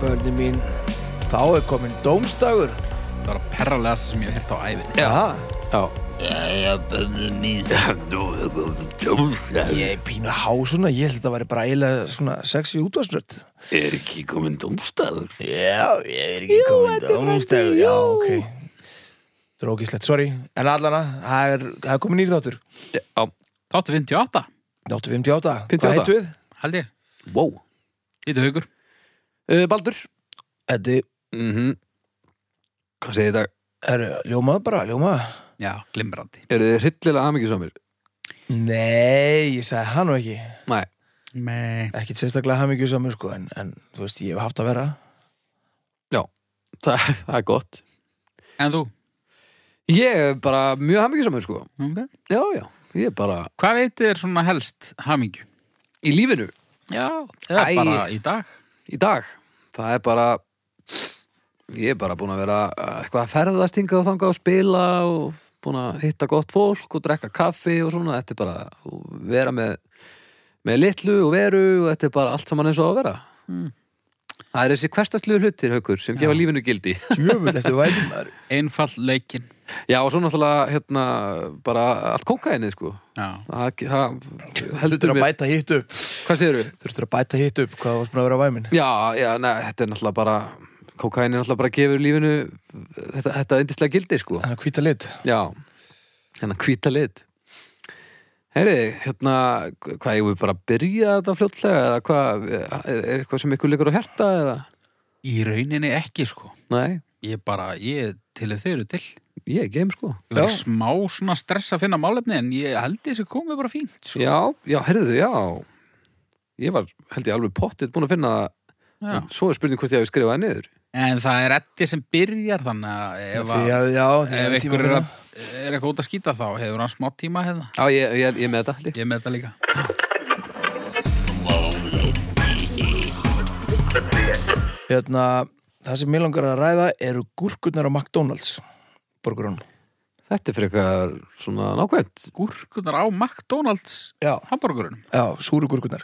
börni mín Þá er komin dómstagur Það var að perralega sem ég hef hirt á æfinni Já Já, Ég er pínu há svona, ég held að þetta væri bara eiginlega svona sexy útvarsnöld er ekki komin dómstæður Já, ég er ekki komin dómstagur Já, ok Drókislegt, sorry, en allana Það er, það er komin nýr þáttur Já, Þáttu 58, Þáttu 58, 58. hvað heitum við? held ég wow Ítu haugur uh, Baldur Þetta mm Mhm. Hvað segir þetta? er ljómað bara, ljómað Já, glimrandi Eru þið hryllilega amyggisamir? Nei, ég sagði hann og ekki Nei, Nei Ekkert sérstaklega hamingjusamur sko en, en þú veist, ég hef haft að vera já, það, það er gott En þú? Ég er bara mjög amyggisamir sko Okay. Já, já, ég er bara Hvað veitir þér svona helst hamingju? í lífinu Já, eða Æ. bara í dag í dag Það er bara Ég er bara búin að vera uh, eitthvað að ferðast hingað og þangað og spila og búin að hitta gott fólk og drekka kaffi og svona, þetta er bara og vera með, með litlu og veru og þetta er bara allt saman eins og á að vera Það er þessi hverstastlegu hlutir, haukur, sem gefa lífinu gildi Djöfull, eftir vætum maður Einfall leikin Já, og svo náttúrulega hérna, bara allt kókainið, sko Já, það, það heldur Þurftur að mér, bæta hitt upp hvað segirðu? Þurftur að bæta hitt upp hvað varst búin að vera á væmin Já, já, neð, þetta er náttúrulega bara kókainið náttúrulega bara gefur lífinu þetta, þetta yndislega gildi, sko Þannig að hvíta lit Já, hérna hvíta lit Heyri, hérna hvað, ég við bara að byrja þetta fljótlega eða hvað, er, er eitthvað sem ykkur liggur á herta eða, í rauninni ekki sko nei, Ég bara, ég til þau eru til Ég ég er geim, sko var Já. í smá svona stress að finna málefni en ég held þessi komið bara fínt sko. Já, já, heyrðu, já Ég var, held ég, alveg pottitt búin að finna það Já. En Svo er spurning hvort ég hafi skrifað það niður En það er eddi sem byrjar þannig að ef, Því að, að, já, því ef að tíma ykkur er, að, er eitthvað út að skýta þá hefur hann smá tíma hefða Já, ég, ég, ég er með þetta líka Ég er með þetta líka Hérna, það sem mér langar að ræða eru gúrkurnar á McDonalds Borgrún Þetta er fyrir eitthvað svona nákvæmt Gúrkunar á McDonalds Já. Hamburgurinn Já, súru gúrkurnar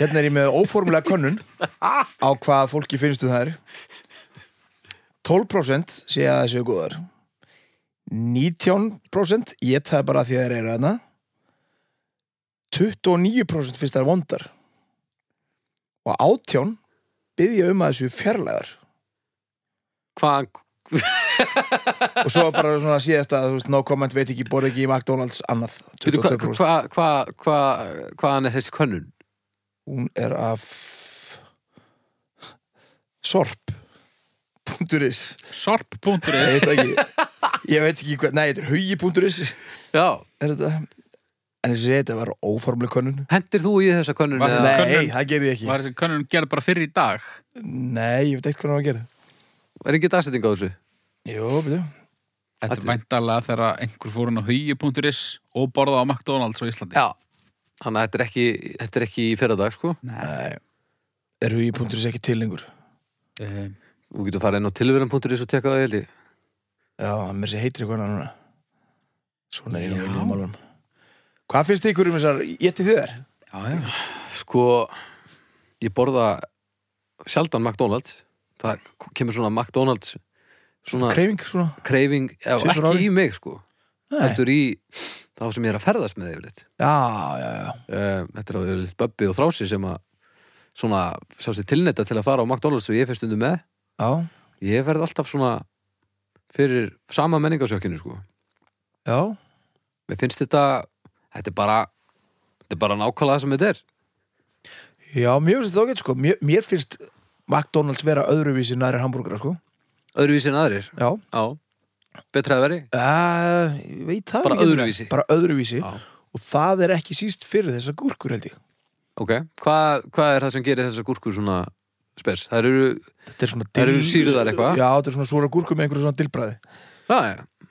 Hérna er ég með óformulega könnun á hvað fólki um finnstu það er 12% sé að það séu góðar 19% ég það bara af því að það eru þarna 29% finnst það er vondar og 18 byggja um að þessu fjarlæðar Hvaðan, og svo bara svona síðasta þú veist, no comment, veit ekki, borð ekki í McDonalds annað, veitu, hva, 22% hva, hva, hva, hvaðan er þessi könnun? hún er af sorp .is Sorp.is ég veit ekki ég veit ekki hvað, nei, þetta er hugi.is Já, er þetta en þess að þetta var óformlega könnun hendir þú í þessa könnun? Var eða- þessi- nei, könnun- það gerði ég ekki Var þessi könnun gerð bara fyrir í dag nei, ég veit eitthvað hvað það gerði Er ekki dagsetting á þessu? jú, betur Þetta er Þetta- væntalega þegar einhver fór hann á hugi.is og borða á McDonalds á Íslandi Já, þannig að þetta er ekki, þetta er ekki í fyrradag, sko nei, er hugi.is ekki til lengur Eh, Þú getur farið inn á tilveran.is og tekka það, ég held ég já, hann mér sé heitir eitthvað annað núna svona er ég Já. nú í lífmálunum hvað finnst ykkur um þessar, ég til þér Já, já Sko, ég borða sjaldan McDonalds Það kemur svona McDonalds Svona Kreifing svona kreifing já, Tvisvar á ári? Ekki í mig, sko Nei. Heldur í þá sem ég er að ferðast með yfirleitt Já, já, já uh, Þetta er á yfirleitt Böbbi og Þrási sem að Svona, sá sér tilnetta til að fara á McDonalds Og ég fyrst undir með Já, Ég verð alltaf svona fyrir sama menningasökkinu, sko já Mér finnst þetta, þetta er bara Þetta er bara nákvæmlega það sem þetta er Já, mér finnst þetta ágætt sko Mér, mér finnst McDonalds vera öðruvísi næri hambúrgara sko Öðruvísi en aðrir, Já já Betra að veri uh, Ég veit það Bara ekki alveg. öðruvísi. Bara öðruvísi Já. Og það er ekki síst fyrir þessar gúrkur held ég Ok, hvað hva er það sem gerir þessar gúrkur svona spes? Það eru, Þetta er svona Þær eru sýrðar eitthvað? Já, þetta er svona súra gúrkur með einhverju svona dilbræði ah, já, já,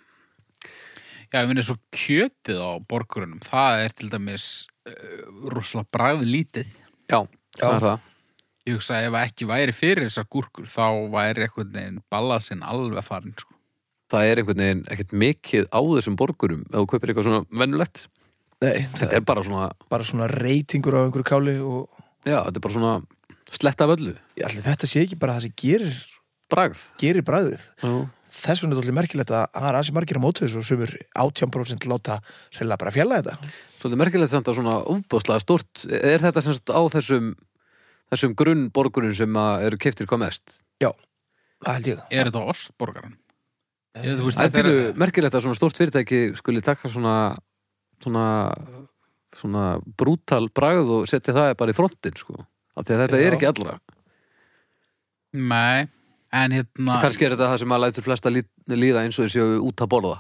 Já, ég minni svo kjötið á borgurunum það er til dæmis uh, rosalega bræð lítið já, það er það. Ég hugsa að ef ekki væri fyrir þessar gúrkur þá væri eitthvað neginn ballasinn alveg farin sko. Það er einhvern veginn ekkert mikið á þessum borgurum ef þú kaupir eitthvað svona vennulegt. Nei, það Þetta er bara svona, er bara svona reytingur á einhverju káli og já, þetta er bara svona sletta af öllu, Allir þetta sé ekki bara það sem gerir, bragð gerir bræðið. Já. Þess vegna er þetta merkilegt að það er aðeins margir á mótu þessu og sumur 18% láta reyla bara fjalla þetta. Svolítið merkilegt samt að svona umboðslega stort er þetta sem sagt á þessum þessum grunnborgurum sem að eru keftir hvað mest Já, það held ég. Er þetta ostborgaran? Eða, þú veist, Það er þetta er, pínu merkilegt að svona stort fyrirtæki skuli taka svona svona svona brútal bragð og setja það bara í frontin sko af því að þetta Já. er ekki allra nei, en hérna, kannski er þetta það sem að lætur flesta lí- líða eins og þeir séu út að borða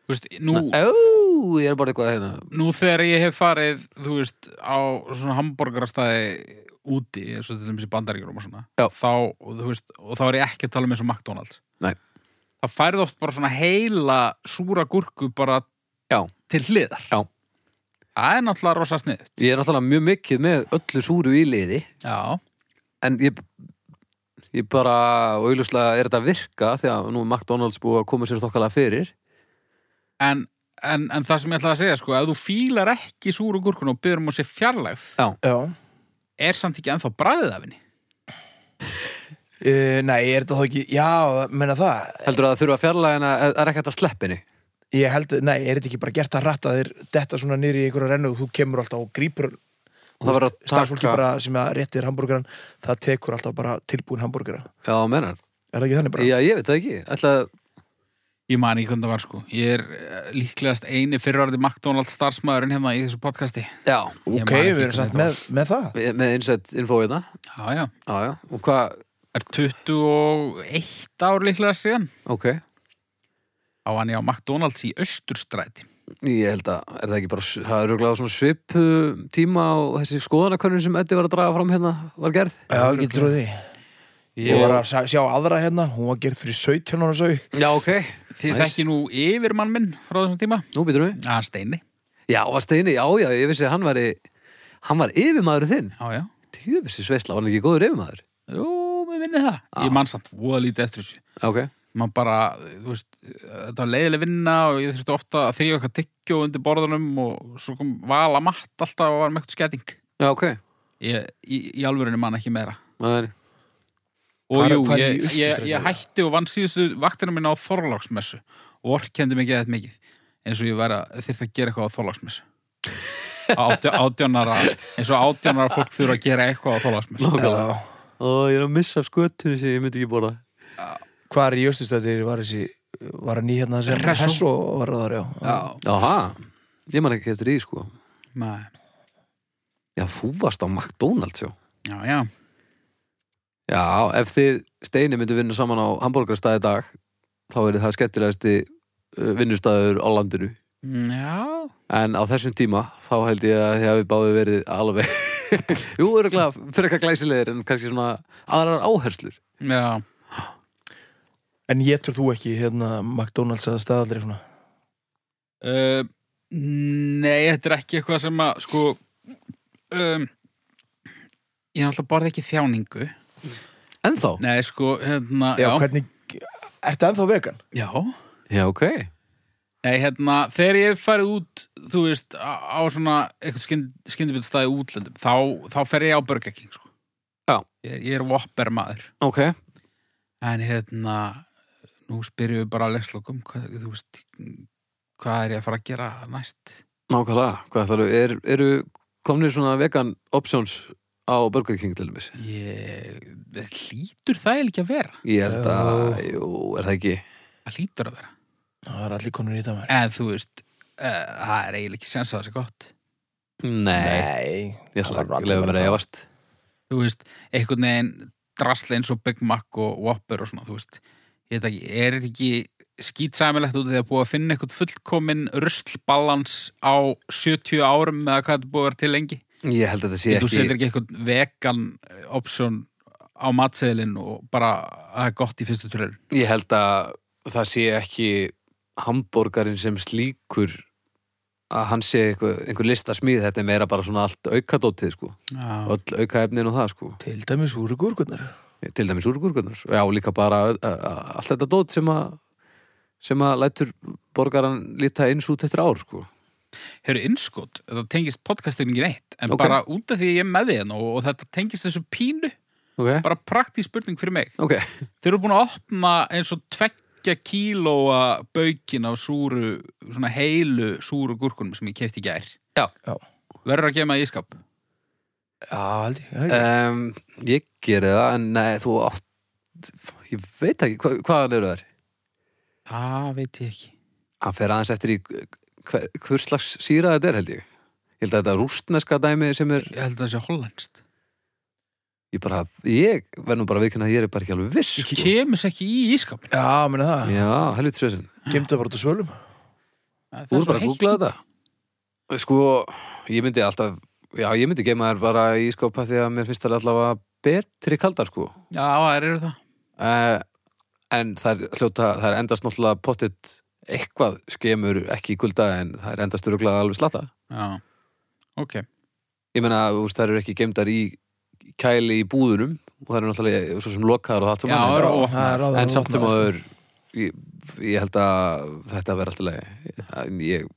þú veist, nú, Ó, ég er bara eitthvað hérna nú þegar ég hef farið, þú veist, á svona hambúrgarastæði úti, eins og til dæmis í bandaríkjurum og svona, Já. þá, og þú veist, og þá er ég ekki að tala um eins og McDonalds. Nei. Það færið oft bara svona heila súra gúrku bara Já. til hliðar. Já. Það er náttúrulega rosa snið. Ég er náttúrulega mjög mikið með öllu súru í liði Já. en ég ég bara, og auðvitað er þetta að virka því að nú er McDonalds búið að koma sér þokkalega fyrir En, en, en það sem ég ætlaði að segja, sko, ef þú fílar ekki súra gúrkun og byrðum á sér fjarlægð, Já. er samt ekki ennþá bræðið af henni. Uh, nei, er þetta þá ekki, já, menna það, heldur að það þurfa að fjarlæga en að það er ekki hægt að sleppa henni ég held, nei, er þetta ekki bara gert að ratta þér detta svona nýri í einhverja rennu og þú kemur alltaf og grípur og það verður að starfólki taka bara sem að réttir hambúrgaran það tekur alltaf bara tilbúin hambúrgara já, menar, er það ekki þannig bara? já, ég veit það ekki ætla að, Ég man ekki hvernig það var sko. Ég er eh, líklegast eini fyrirvarandi McDonalds starfsmæðurinn hérna í þessu podcasti. já, Ég ok, man ekki við erum hvernig samt þetta með, með það með- með innsett info í það Já, já. já, já, og hvað, Er 21 ár líklega síðan. ok Á hann ég á McDonalds í Östurstræti. ég held að, er það ekki bara s- það eru glæða svona svip uh, tíma og þessi skoðanakönnun sem Eddi var að draga fram hérna var gerð já, ég getur trúið því ég var að sa- sjá aðra hérna, hún var gerð fyrir 17 ára sög já, ok, Þið Nice. þekki nú yfirmann minn frá þessum tíma. nú býtum við Já, Steini. já, var Steini, já, já, ég vissi að hann væri hann var yfirmaður þinn Já, já. Tjöfissi sveisla, var hann ekki góður yfirmaður? Jú, við vinnið það. Ég man samt voða lítið eftir þessu. Ok. Man bara, þú veist, þetta var leiðileg vinna og ég þurfti ofta að þrýja eitthvað tyggjó undir borðunum og svo kom vala matt alltaf og var með eitthvað sketting. Já, ok. Ég, í, í alvörinu man ekki meira. Maður. Og Hvar- jú, hvar í ég, ég, Austurstræti ég er það? hætti og vann síðustu vaktina mína á Þorláksmessu og orkendi mig eða mikið eins og ég væri að þyrfti að gera eitthvað á Þorláksmessu Átjá- átjánara eins og átjánara fólk þurfa að gera eitthvað á Þorláksmessu já, Ó, ég er að missa skötunni sem ég myndi ekki borða. hvar í Jöstustættir var þessi var hann í hérna sem Hressó. Hesso var það já, Já, Jaha. Ég man ekki eftir því, sko. nei, Já, þú varst á McDonalds, já. já, já Já, ef þið Steini myndi vinna saman á hambúrgarstæði dag, þá er það skemmtilegasti uh, vinnustæður á landinu. Mm, Já, En á þessum tíma, þá held ég að þið hafi báði verið alveg... Jú, öruglega, fyrir eitthvað glæsilegir en kannski svona aðrar áherslur. já en getur þú ekki hérna McDonalds að staðaldri svona uh, Nei, þetta er ekki eitthvað sem að sko um, ég er alltaf borðið ekki þjáningu En þá? Nei, sko, hérna, já, já, hvernig, ertu ennþá vegan? já. Já, ok. Nei, hérna, þegar ég hef farið út, þú veist, á á svona eitthvað skyndibitstæði útlöndum, þá, þá fer ég á Burger King, sko. Já. Ég, ég er Whopper maður. Ok. En hérna, nú spyrjum við bara að lekslokum, hvað, þú veist, hvað er ég að fara að gera næst? Nákvæmlega, hvað ætlar þú? Er, eru komnir svona vegan options á Burger King til dæmis? Ég, hlýtur það eiginlega ekki að vera? Ég held að, jú, er það ekki? Það hlýtur að vera. það er allir konur í þetta maður En þú veist, uh, það er eiginlega ekki sens að það sé gott. Nei, nei, ég ætla það var að allir lefa mér verið að það. efast. Þú veist, einhvern veginn drasli eins og Big Mac og Whopper og svona, þú veist. Ég veit ekki, er þetta ekki skýtsamilegt út af því að búið að finna eitthvað fullkomin ruslbalans á 70 árum eða hvað þetta búið að vera til lengi? Ég held að þetta sé Þú setur ekki, ekki eitthvað vegan eh, option á matseðilinn og bara að það er gott í fyrstu tröður. ég held að það sé ekki hambúrgarinn sem slíkur að hann sé einhver, einhver lista smíð, þetta er meira bara svona allt aukadótið, sko. Já, Öll aukaefnin og það, sko. til dæmis úr gúrkurnar Til dæmis úrgurgunar. Já, líka bara ö- ö- ö- allt þetta dót sem að sem að lætur borgaran líta eins út eftir ár, sko. Herru, innskot, þetta tengist podcastinu ekki neitt, en Ok. bara út af því að ég er með þið og, og þetta tengist þessu pínu Ok, bara praktísk spurning fyrir mig ok, Þeir eru búin að opna eins og tveggja kílóa baukin af súru, svona heilu súru gúrkunum sem ég kefti í gær Já Já. Verður að gema í skap Já, held ég, held ég. um, ég geri það en nei, þú átt ég veit ekki, hva, hvaðan eru þær? Það veit ég ekki Hann fer aðeins eftir í hver, hver slags síra þetta er held ég Ég held að þetta rústneska dæmi sem er Ég held að það sé hollenskt ég bara, ég verð nú bara viðkynna að ég er bara ekki alveg viss Ég sko. kemis ekki í ískapin Já, meina það. Já, helviti svesin Gemdu það bara út á svölum. Það Þú voru bara að googla þetta Sko, ég myndi alltaf Já, ég myndi geima þær bara í skopa því að mér finnst það allavega betri kaldar sko Já, það eru það uh, En það er hljóta það er endast náttúrulega pottitt eitthvað skemur ekki í kulda en það er endast öruglega alveg slata Já, ok Ég meina, þú veist, það eru ekki geimdar í kæli í búðunum og það eru náttúrulega svo sem lokaðar og það Já, það allt eru Já, opnaðar. það eru opnaðar. saman En samt sem aður ég, ég held að þetta verði alltaf leið En ég,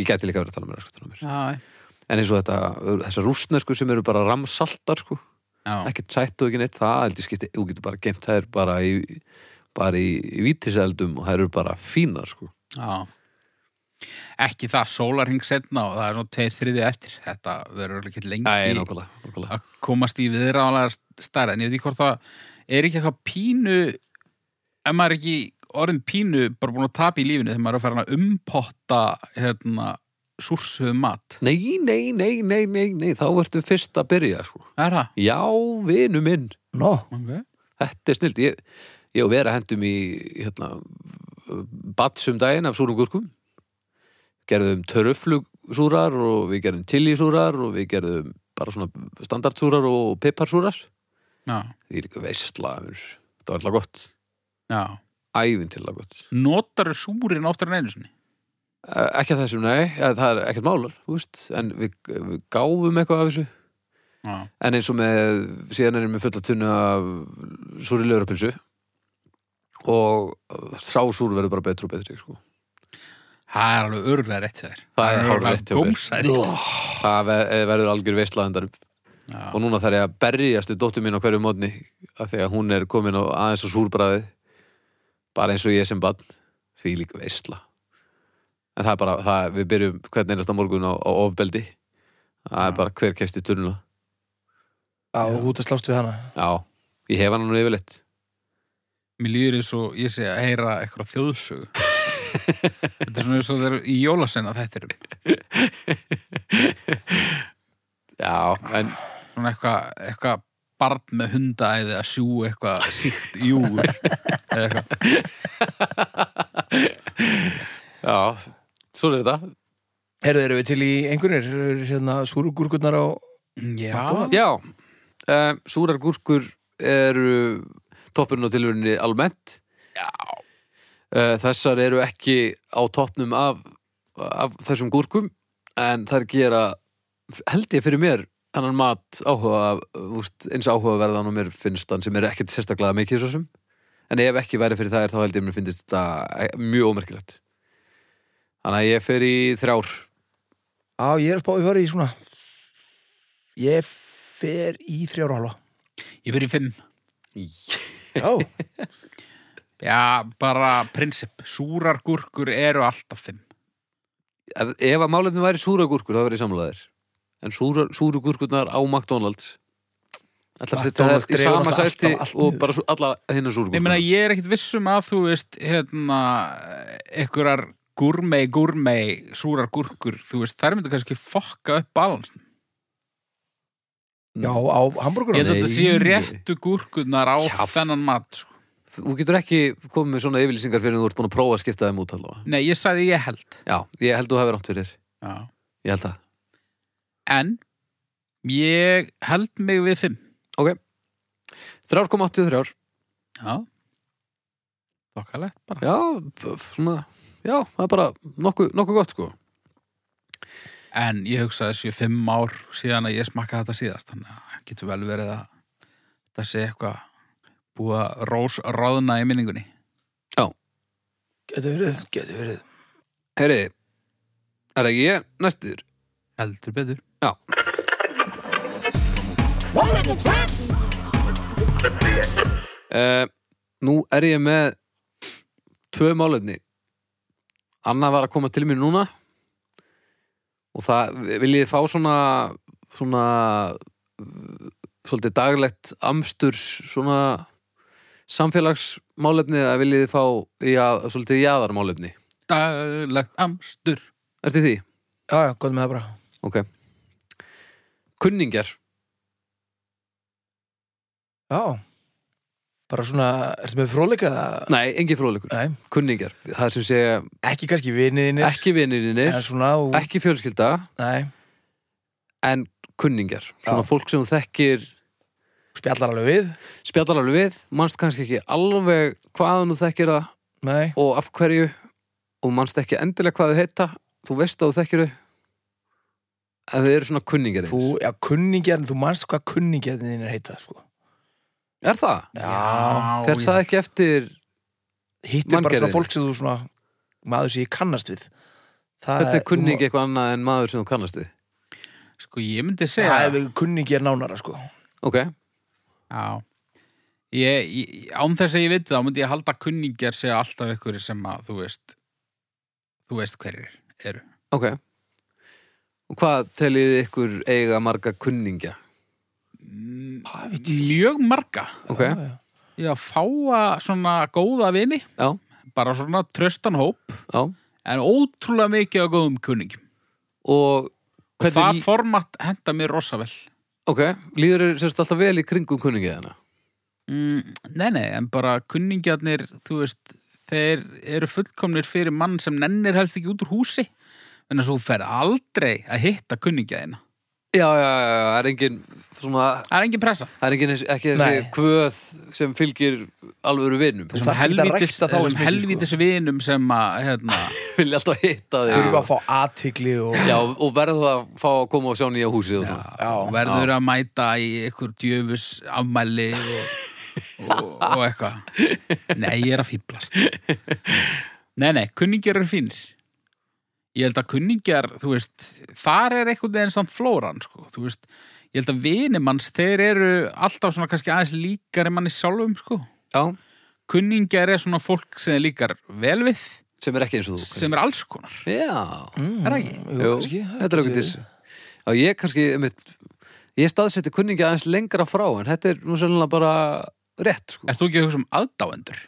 ég gæti líka verið að tala með raskatunum mér Já, En eins og þetta, þessar rústnesku sem eru bara ramsaltar sko, já, ekkert sætt og ekki neitt það, heldur skipti, þú getur bara geimt þær bara í, bara í, í vítiseldum og þær eru bara fínar sko. já Ekki það, sólarhing setna og það er svona tveir þriði eftir Þetta verður ekki lengi Nei, nákvæmlega, nákvæmlega. að komast í viðráðanlega stærð en ég veit ekki hvort það er ekki eitthvað pínu ef maður er ekki orðin pínu bara búin að tapa í lífinu þegar maður er að fara að umpotta hérna, súrsuðu mat Nei, nei, nei, nei, nei, nei, þá ertu fyrst að byrja sko. er það? Já, vinu minn, Nó, Okay. þetta er snilt. Ég, ég og vera hendum í hérna, batsum daginn af súrum gúrkum. Gerðum törflugsúrar og við gerðum tilísúrar og við gerðum bara svona standardsúrar og piparsúrar. Já, Því líka veistla, það var alltaf gott. já. Ævintillega gott. notar súrin oftar en einu sinni Eh, Ekki að þessum, nei, eh, það er ekkert málar, þú veist, en við, við gáfum eitthvað af þessu. já, En eins og með, síðan er ég með fulla tunnu af súri lögrapilsu og sá súr verður bara betri og betri, sko. það er alveg örgulega rétt hjá þér Það er örugglega hárrétt hjá mér. gómsætt. Það ve- eh, verður algjör veistlaðendar upp. Já. Og núna þarf ég að berjast við dóttur mín á hverju mótni af því að hún er komin á aðeins á súrbræðið bara eins og ég sem bann því líka veistla. En það er bara, það, við byrjum hvern einasta morgun á, á ofbeldi. Það er bara hver kefst í tunnuna. á út að slást við hana. Já, ég hef hann nú yfirleitt. Mér líður eins og ég sé að heyra eitthvað þjóðsögu. Þetta er svona eins og þeir í jólasenna þetta er Já, en svona eitthvað eitthva barn með hundaæði að sjú eitthvað síkt júr eða eitthvað. Já, svo er þetta Herðu, eru við til í einhvernir? Eru hérna súrugurkurnar á... Já, Já, um, súrar gúrkur eru toppurinn á tilvörinni almennt já, uh, Þessar eru ekki á toppnum af, af þessum gúrkum en þær gera, held ég fyrir mér hennan mat áhuga úst, eins áhugaverðan og mér finnst hann sem er ekkert sérstaklega mikið svo sem en ef ekki væri fyrir þær þá held ég mér finnst þetta mjög ómerkilegt Þannig að ég fer í þrjár Á, ég er að spá við fara í svona... Ég fer í þrjára halva. ég fyrir fimm. Já, Já, bara prinsip. Súrar gúrkur eru alltaf fimm. ef, ef að málefni væri súra gúrkur þá verið ég samlaðir en súra, súru gúrkurnar á McDonalds ætlar að setja McDonald's þær í dregur sama náttúrulega sæti alltaf allt og niður. bara sú, alla hinnar súru Ég meina, gúrkurnar ég er ekkit viss um að þú veist, hérna, einhverjar gúrmei, gúrmei, súrar gúrkur, þú veist, þær myndu kannski fokka upp balans. já á Ég hambúrgurnar. held að þetta Nei. séu réttu gúrkurnar á Já. þennan mat, sko. þú getur ekki komið með svona yfirlýsingar fyrir en þú ert búin að prófa að skipta þeim út allavega Nei, ég sagði ég held. já, ég held þú hefur átt fyrir Já. ég held það En, ég held mig við fimm. 3,83 Já Þokkalegt bara já, f- svona já, það er bara nokkuð nokku gott sko En ég hugsaði þessi fimm ár síðan að ég smakkaði þetta síðast þannig að það getur vel verið að það sé eitthvað búið að rós ráðna í minningunni Getur verið, getur verið. heyriði Er það ekki ég næstur? heldur betur Já, uh, nú er ég með tvö málefni Anna var að koma til mér núna og það viljið þið fá svona svona uh, svolítið daglegt amsturs svona samfélagsmálefni eða viljið þið fá já, svolítið jaðarmálefni daglegt amstur Ertu í því? Já, já, gott með það bara Ok Kunningjar Já, bara svona, ertu með fróðleika það? Nei, engin fróðleikur Nei, Kunningjar, það sem segja ekki kannski viniðinir ekki vinnirinir, En svona, og, ekki fjölskylda nei, en kunningjar, svona Já. fólk sem þú þekkir spjallar alveg við spjallar alveg við, manst kannski ekki alveg hvaðan þú þekkir það Nei, og af hverju og manst ekki endilega hvað þau heita þú veist að þú þekkir þau en þau eru svona kunningjar þú, þínir. já, kunningjarn, þú manst hvað kunningjarnir þínir heita, sko er það? Já, fer já. það ekki eftir hittir bara Manngerðin. svona fólk sem þú svona maður sem ég kannast við Það þetta er þú má- kunningi eitthvað annað en maður sem þú kannast þið sko ég myndi segja Það er kunningjar nánara, sko ok, Já ég, ég, Án þess að ég viti þá myndi ég halda að kunningjar segja alltaf ykkur sem að þú veist þú veist hverjir eru ok og hvað teljið þið ykkur eiga marga kunningja Það veit Mjög marga ok, já, já. Ég að fáa svona góða vini já, bara svona tröstan hóp en ótrúlega mikið á góðum kunningjum og og það hvernig, format henda mér rosa vel ok, líður þér sérst alltaf vel í kringum kunningja þarna mm, Nei, nei, en bara kunningjarnir þú veist, þeir eru fullkomnir fyrir mann sem nennir helst ekki út úr húsi en þess að þú fer aldrei að hitta kunningjaðina já, já, já, já, það er engin svona Það er engin pressa Það er ekki, ekki þessi Nei. kvöð sem fylgir alvöru vinnum Þú sem þarft ekki að helvítis, rækta þá eins þessum mikið, sko. helvítis vinum sem að hérna, vilja alltaf hitta þig Þurfa og, að fá athygli og já, og verða að fá að koma og sjá nýja húsið og svona já, verður að mæta í ykkur djöfus afmæli og, og, og eitthvað Nei, ég er að fýblast Nei, nei, kunningjar eru fínir Ég held að kunningjar, þú veist þar er einhvern veginn samt flóran sko, þú veist, ég held að vinimanns þeir eru alltaf svona kannski aðeins líkari manni sjálfum, sko já, Kunningjar er svona fólk sem er líkar vel við, sem er ekki eins og þú sem er alls konar já, Er það ekki? jú, jú, Mm, kannski, það þetta er getur okkur verið. þess já, ég kannski einmitt, ég staðseti kunningi aðeins lengra frá en þetta er nú sérlega bara rétt sko. Er þú ekki að hugsa um aðdáendur?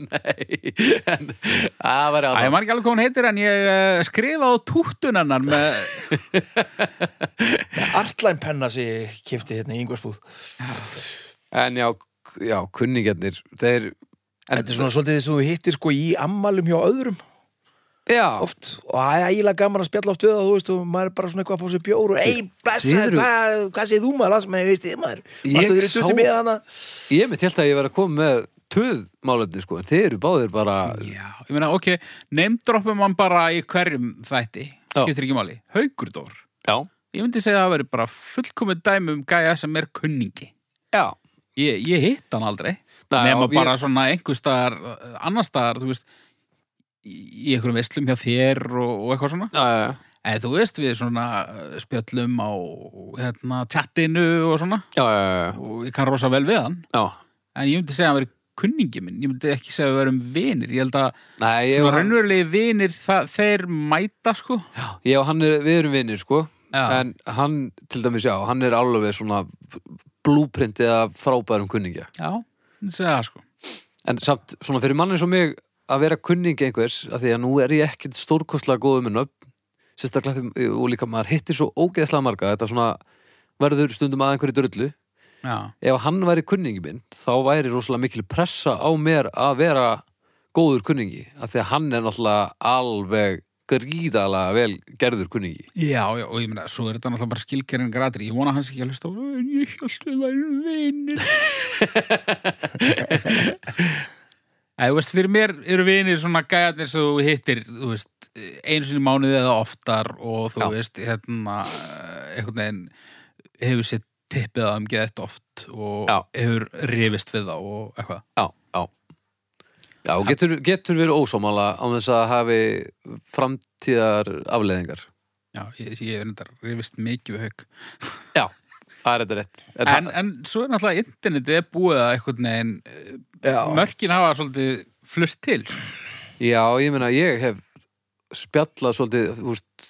en það var Æ, ég já man ekki alveg hvað hún heitir en ég uh, skrifa á túttunannar með, Artline penna sem ég kefti hérna í yngvarsbúð en já, k- já, kunningarnir þeir en, Þetta er svona svolítið þess að þú hittir sko í ammælum hjá öðrum já, oft og það er ægilega gaman að spjalla oft við það, þú veist, og maður er bara svona eitthvað að fá sér bjór og ei, blessaður, Sigrún. hvað, hvað segir þú maður, landsmenni, veist þið maður, Ég varstu þér í sá- dutti með hana ég mitt held að ég var að koma með töð málefni sko, en þeir eru báðir bara já, ég meina, ok, neymdroppum hann bara í hverjum þætti, Já. skiptir ekki máli, haugurdór. já, Ég myndi segja að það veri bara fullkomið dæmi um gæja sem er kunningi. já Ég, ég hitt hann aldrei, Nei, nema já, bara svona einhver staðar, eh, annar staðar, þú veist, í í einhverjum veslum hjá þér og, og eitthvað svona. já, já, já. En þú veist, við svona eh, spjöllum á hérna, tjattinu og svona, já, já, já, og ég kann rosa vel við hann. já. en ég myndi segja að hann veri kunningi minn ég myndi ekki segja að við verum vinir ég held að Nei, ég og svona hann, raunverulegi vinir það, þeir mæta sko ég og hann er, við erum vinnir sko Já. en hann, til dæmis já, hann er alveg svona blúprint eða frábærum kunningja já, ég myndi segja það sko en samt, svona fyrir manni svo mig að vera kunningi einhvers, af því að nú er ég ekkit stórkostlega góð með nöfn sérstaklega því- og líka maður hittir svo ógeðslega marga þetta svona verður stundum að einhverju drullu já, ef hann væri kunningi minn þá væri rosalega mikil pressa á mér að vera góður kunningi af því að hann er náttúrulega alveg gríðalega vel gerður kunningi já, já og ég myndi svo er þetta náttúrulega bara skilkerinn gradri ég vona að hans ekki að hlusta á "En ég held við værum vinir Æ, þú veist, fyrir mér eru vinir svona gæjarnir sem þú hittir, þú veist, einu sinni í mánuði eða oftar og þú Já. veist, hérna, einhvern veginn hefur sér tippið að um geðett oft og Já. hefur rifist við þá og eitthvað. Já, já Já, og getur, getur verið ósámála á þess að hafi framtíðar afleðingar Já, ég, ég er enda rifist mikið við haug Já, það er þetta rétt En, en, en svo er náttúrulega internetið er búið að einhvern veginn eh, Já. mörkin hafa svolítið flust til sko. Já, ég meina, ég hef spjallað svolítið, úst,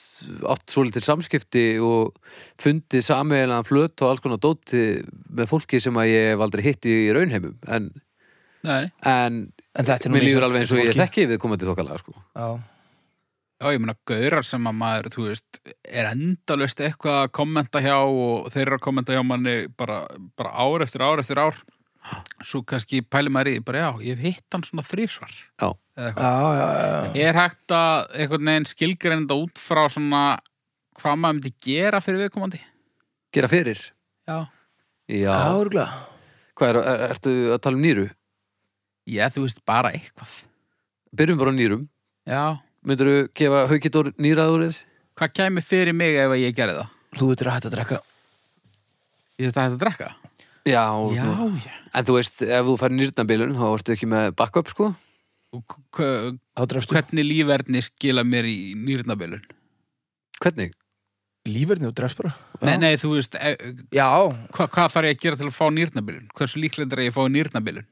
átt svolítið samskipti og fundið sameiginlegan flöt og alls konar dóti með fólki sem að ég hef aldrei hitt í raunheimum en, Nei, en En þetta er nú mér líður misjafnt alveg eins og ég fólki. þekki við komandi þokkalega sko. Já. já, ég meina gaurar sem að maður, þú veist, er endalust eitthvað að kommenta hjá og þeir eru að kommenta hjá manni bara, bara ár eftir ár eftir ár svo kannski pæli maður í, bara já, ég hef hitt hann svona þrísvar Já, eða eitthvað. Já, já, já, já. Er hægt að einhvern veginn skilgreinda út frá svona hvað maður myndi gera fyrir viðkomandi? gera fyrir Já. Já, Já, örgulega. hvað er, er, ertu að tala um nýru? Já, þú veist, bara eitthvað. Byrjum bara á nýrum Já. Myndirðu gefa haukitór nýraðúrið? Hvað kæmi fyrir mig ef að ég gerði það? Þú ert rætt að drekka. Ég þetta hægt að drekka? Já, já. En þú veist, ef þú fær nýrnabilun þá ertu ekki með backup sko Og hva- Þá drefstu hvernig lífverðni skila mér í nýrnabilun? Hvernig? lífverðni og drefst bara. Nei, nei, þú veist, e- Já, hva, hvað þarf ég að gera til að fá nýrnabilun? Hversu líklegt er að ég að fá nýrnabilun?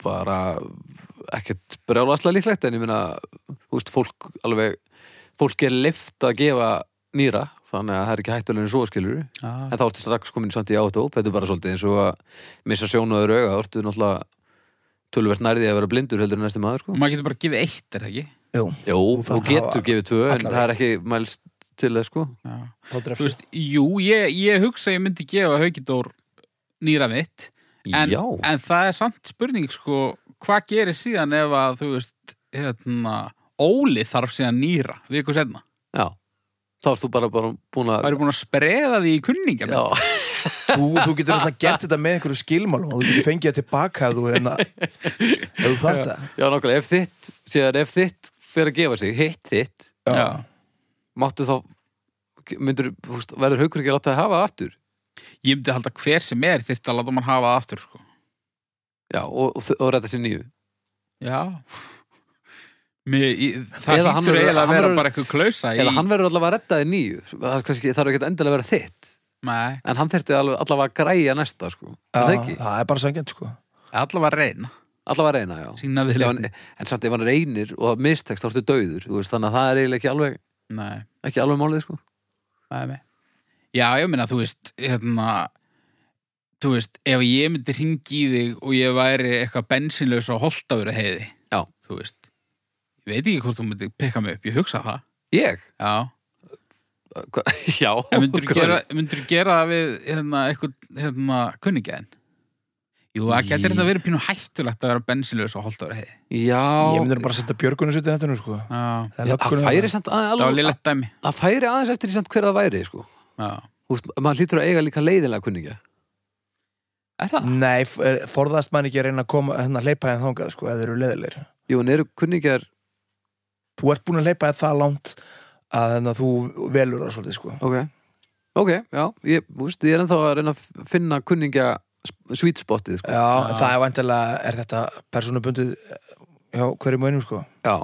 bara ekkert brjálaslega líklegt en ég meina, þú veist, fólk alveg, fólk er lift að gefa nýra, þannig að það er ekki hættulegin svo skilur, Ah. en þá ertu strax komin samt í átóp, þetta er bara svolítið eins og að missa sjónuður auga, þá ertu náttúrulega tölvert nærðið að vera blindur heldur en næsti maður, sko. Og maður getur bara að gefa eitt, er það ekki? jú, Jó, þú þarft að hafa getur gefið tvö, en alla það er ekki mælst til þess, sko. Já. þá Þú drefstu. veist, jú, ég, ég hugsa að ég myndi gefa Haukidór nýra mitt en, Já, en það er samt spurning, sko, hvað gerir síðan ef að, þú veist, hérna, Óli þarf síðan nýra, við ykkur setna? já. Þá ert þú bara, bara búin Það að... eru búin að spreða því í kunningja Já, Þú, þú getur alltaf gert þetta með einhverju skilmálum og þú getur fengið það tilbaka ef þú, hérna, ef þú þarft það. já, nákvæmlega, ef þitt, síðan ef þitt fyrir að gefa sig, hitt þitt, Já. máttu þá myndur, fúst, verður haukur ekki að láta það hafa það aftur Ég myndi halda hver sem er þyrfti að láta mann hafa það aftur sko. já, og, og, og ræta sér nýju Já Mér, ég, Það Eða hann hýttur verður- eiginlega að hann vera verður- bara eitthvað klausa í, eða hann verður allavega að rætta þér nýju það er kannski, þarf ekki endilega að vera þitt Nei, en hann þyrfti alveg- allavega að græja næsta sko. Já, er það ekki? það er bara sangjant, sko. allavega reyna allavega að reyna, já Sýna Ef við hann, en samt ef hann reynir og það mistekst þá ertu döður veist, þannig að það er eiginlega ekki alveg, Nei, ekki alveg málið sko. nei, nei Já, ég meina, þú veist hérna, Þú veist, ef ég myndi ringi í þig og ég væri eitthvað bensinlaus og holt að vera heiði Já. Þú veist Ég veit ekki hvort þú myndi pekka mig upp, ég hugsa það ég? Já, Hva? já en myndur þú hvað- gera, myndirðu gera það við hérna, eitthvað hérna, kunningjaðin? Jú, það getur þetta verið pínu hættulegt að vera bensinlaus og holdt að vera heiði Ég já, myndir bara að setja björgunus út í nettinu, sko. Já, Það er það löggunum- færi samt aðeins það var alveg- lillegt dæmi það færi aðeins eftir því samt hver það væri sko. Já, Þú veist, maður hlýtur að eiga líka leiðinlega kunningja er það? Nei, f- er- forðast mann ekki að reyna að koma, hérna, leipa þeim þangað, sko, ef þeir eru leðilegir. Jú, en eru kunningjar Þú ert búin að leipa þeim það langt að hérna, þú velur það svolítið, sko. Ok, ok, já Ég, úst, ég er ennþá að reyna að finna kunningja sp- sweet spotið, sko Já, en það er vantilega, er þetta persónubundið eh, hjá hverjum og einum, sko. Já,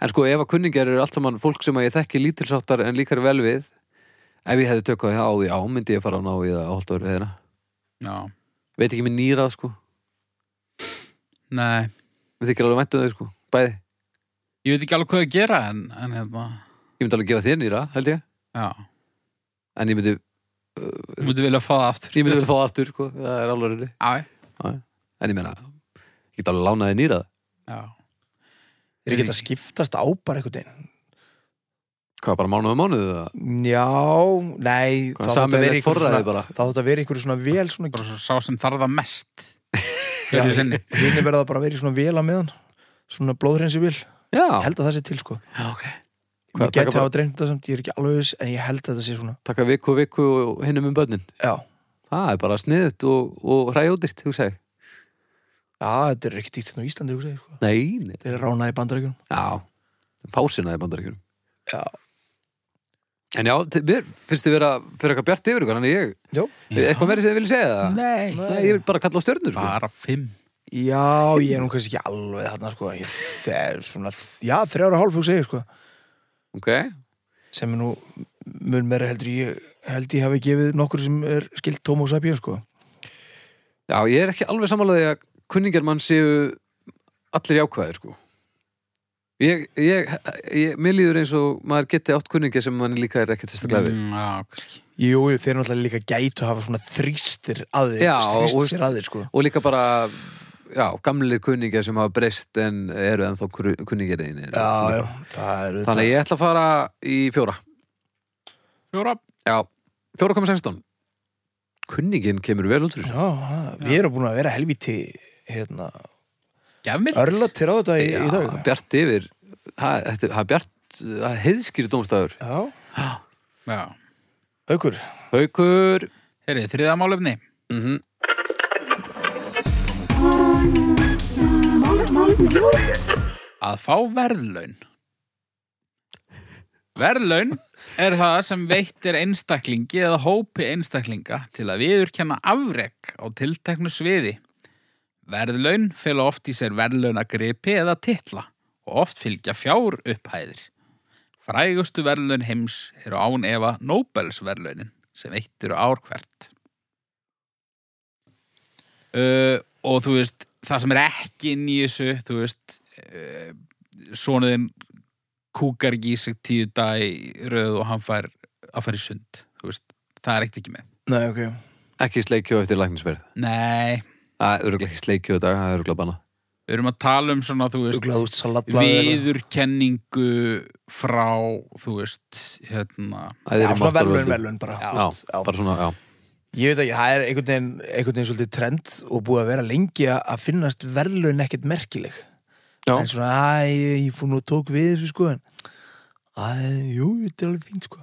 en sko ef að kunningjar eru allt saman fólk sem að ég þekki lítilsáttar en líkar vel við ef ég hefði tökkað á því á, myndi ég fara á ná í það að holta verið þeirra já, Veit ekki mér nýrað, sko nei Við þykir alveg væntu þau, sko, bæði Ég veit ekki alveg hvað að gera en, en hérna, Ég myndi alveg gefa þér nýra, held ég já En ég myndi, Þú myndi vilja fá það aftur ég myndi vel fá aftur, sko Það er alveg reyni Já, En ég meina, ég get alveg lánaði nýrað já, Þeir geta að skiptast á bara einhvern veginn. Hvað, bara mánuðu mánuðu? eða? Já, nei, Hvað, þá þátt að vera sameiginlegt einhver forræði svona- bara? þá þátt að vera einhverju svona vel svona bara svo sá sem þarf það mest Já. Hverju sinni Hinn er verið að bara vera í svona vel á meðan Svona blóðhreinsi vil Ég Já, held að það sé til sko já, ok Hvað, Ég taka geti bara- hafa dreymt um það samt, ég er ekki alveg viss En ég held að það sé svona taka viku og viku og hinnum um börnin Já, það er bara sniðut og, og hræjóðirt hugsa ég já þetta er ekki dýtt hérna á Íslandi hugsa ég, sko. nei, nei. Þeir eru ránaði bandarækjum já, fásina í bandaríkjunum Já, en já, þi- mér finnst þið vera fyrir eitthvað bjart yfir ykkur, þannig ég Eh, já eitthvað meiri sem þið viljið segja það Nei, nei, ég vil bara kalla á stjörnur sko. bara fimm Já, ég er nú kannski ekki alveg þarna sko ég, þeir, svona, Já, þrjára hálf hugsa ég sko Ok, sem er nú mun meira heldur en ég held ég hafi gefið nokkur sem er skilt Homo sapiens sko já, ég er ekki alveg samanlega að kunningjar mann séu allir jákvæðir sko Ég, ég, ég, mér líður eins og maður geti átt kunningja sem mann líka er ekkert sérstaklega við. Mm, Já, kannski Jú, jú, þeir náttúrulega líka gætu að hafa svona þrýstir að þér Já, og þrýst veist- sér að þér sko Og líka bara, já, gamlir kunningja sem hafa breyst en eru ennþá kunningjar einir. Já, já, það er Þannig að ég ætla að fara í fjóra. Fjóra Já, 4,16 Kunningin kemur vel út úr þessu Já, það- við erum búin að vera helvíti hérna, Gjafmil örla til á þetta í, í dag hérna. Já, Bjart yfir Það þetta- það er bjart, það er heiðskýri dómstafur Já, Já aukur Haukur Herri, þriða málefni mm Að fá verðlaun Verðlaun er það sem veitt er einstaklingi eða hópi einstaklinga til að viðurkenna afrek á tilteknu sviði. Verðlaun fela oft í sér verðlaunagripi eða titla og oft fylgja fjár upphæðir. Frægustu verðlaun heims eru án efa Nobelsverðlaunin sem veitt eru ár hvert. Uh, og þú veist, það sem er ekki inn í þessu, þú veist, uh, sonuðin kúkar ekki í sig tíu dag í röð og hann fær að fara í sund þú veist, það er ekkert ekki með Nei, ok Ekki sleikjó eftir læknisverð nei, Það er örgulega ekki sleikjó í dag, það er örgulega banna við erum að tala um svona þú veist, Uglaðust salatblæði viðurkenningu frá þú veist, hérna Já, Það er um í svona máttarvöldum. velun, velun bara Já, bara svona, já Ég veit ekki, það er einhvern veginn, einhvern veginn svolítið trend og búið að vera lengi að- að finnast verðlaun ekkert merkileg. En Já, svona, æ, ég- ég fór nú og tók við þessu sko, en æ, jú, þetta er alveg fínt sko.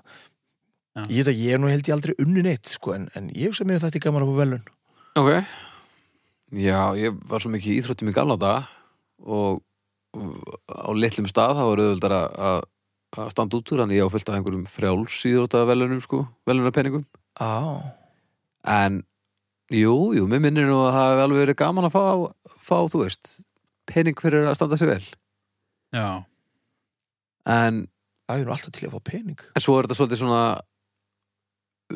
Já. Ég veit ekki, ég er nú held ég aldrei unni neitt sko, en, en ég hugsa mér að þetta er gaman að fá verðlaun. ok Já, ég var svo mikið í íþróttum í gamla dag og og á litlum stað þá er auðvöldar að að standa út úr hann ég á fullt af einhverjum frjálsýðróta velunum sko, velunarpenningum Á, En, jú, jú, mér minnir nú að það hefði alveg verið gaman að fá, fá þú veist, pening fyrir að standa sig vel. já, En, það er nú alltaf til að fá pening. en svo er þetta svolítið svona,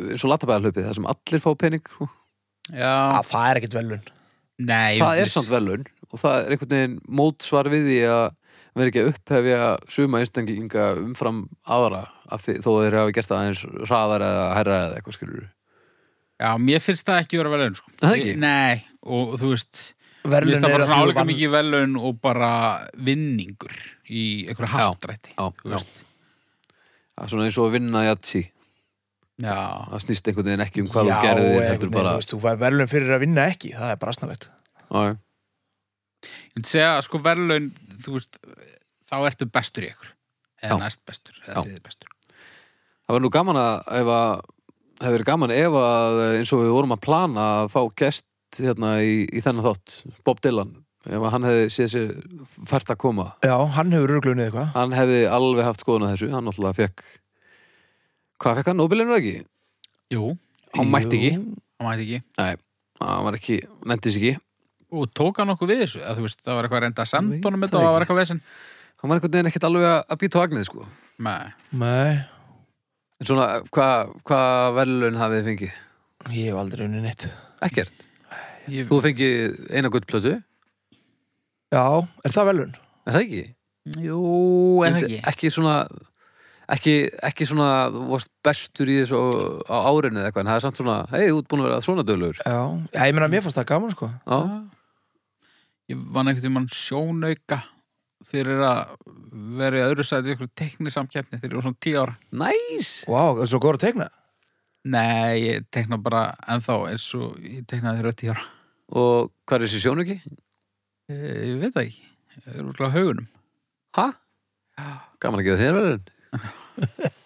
eins og latabæðalöpið, það sem allir fá pening. sko. Á, já það er ekkert verðlaun. nei, Ah, Það er viss. samt velun og það er einhvern veginn mótsvar við því að vera ekki að upphefja suma einstaklinga umfram aðra af því þó að þeir hafi gert það aðeins hraðar eða herra eða eitthvað skilur. já, mér finnst það ekki vera velun sko. Það ekki? nei, og þú veist mér Verðlaun finnst það er bara svona að þú áleika vann- mikið velun og bara vinningur í einhverja Já, hattrætti já, þú já. veist. Það er svona eins og að vinna jatsi. já, Það snýst einhvern veginn ekki um hvað Já, þú gerðir, einhvern heldur veginn, bara... Þú veist, þú fær verðlaun fyrir að vinna ekki, það er bara snarlegt. Já, já. Ég myndi segja að sko verðlaun, þú veist, þá ertu bestur í ykkur. Eða Já. næst bestur, Já. eða þriði bestur. Það var nú gaman að ef að það hefur verið gaman ef að eins og við vorum að plana að fá gest hérna í, í þennan þátt, Bob Dylan ef að hann hefði séð sér fært að koma Já, hann hefur röglunnið eitthvað. hann hefði alveg haft skoðun að þessu hann náttúrulega fekk hvað fekk hann, Nobelinu ekki? Jú, Hann mætti ekki, Jú, það mætti ekki. nei, hann var ekki nefndis ekki, Og tók hann okkur við þessu, eða þú veist, það var eitthvað að reynda að Ég veit senda honum þetta það og það var ekki. eitthvað vesinn. hann var einhvern veginn ekkert alveg að- að býta á agnið sko, Nei, Nei, en svona hvað hva verðlun hafið þið fengið? ég hef aldrei unni neitt. Ekkert, ég, þú fengið eina guttplötu, Já, er það velun? er það ekki? jú, en Myndi- ekki. ekki svona ekki, ekki svona þú varst bestur í þessu á árinu eða eitthvað en það er samt svona, hei, þú ert búin að vera svona dölur Já, já ég meina mér fannst það gaman sko já, Ah. Ég vann einhvern tímann sjónauka fyrir að vera í öðru sæti í einhverju teknisamkeppni þegar ég var svona tíu ára. næs Vá, wow, er svo góður að tekna Nei, ég tekna bara ennþá eins og ég teknaði þegar ég var tíu ára. og hvað er þessi sjónu ekki? Ég, ég veit það ekki. Ég er úrlega haugunum. ha? gaman að gefa þér verðin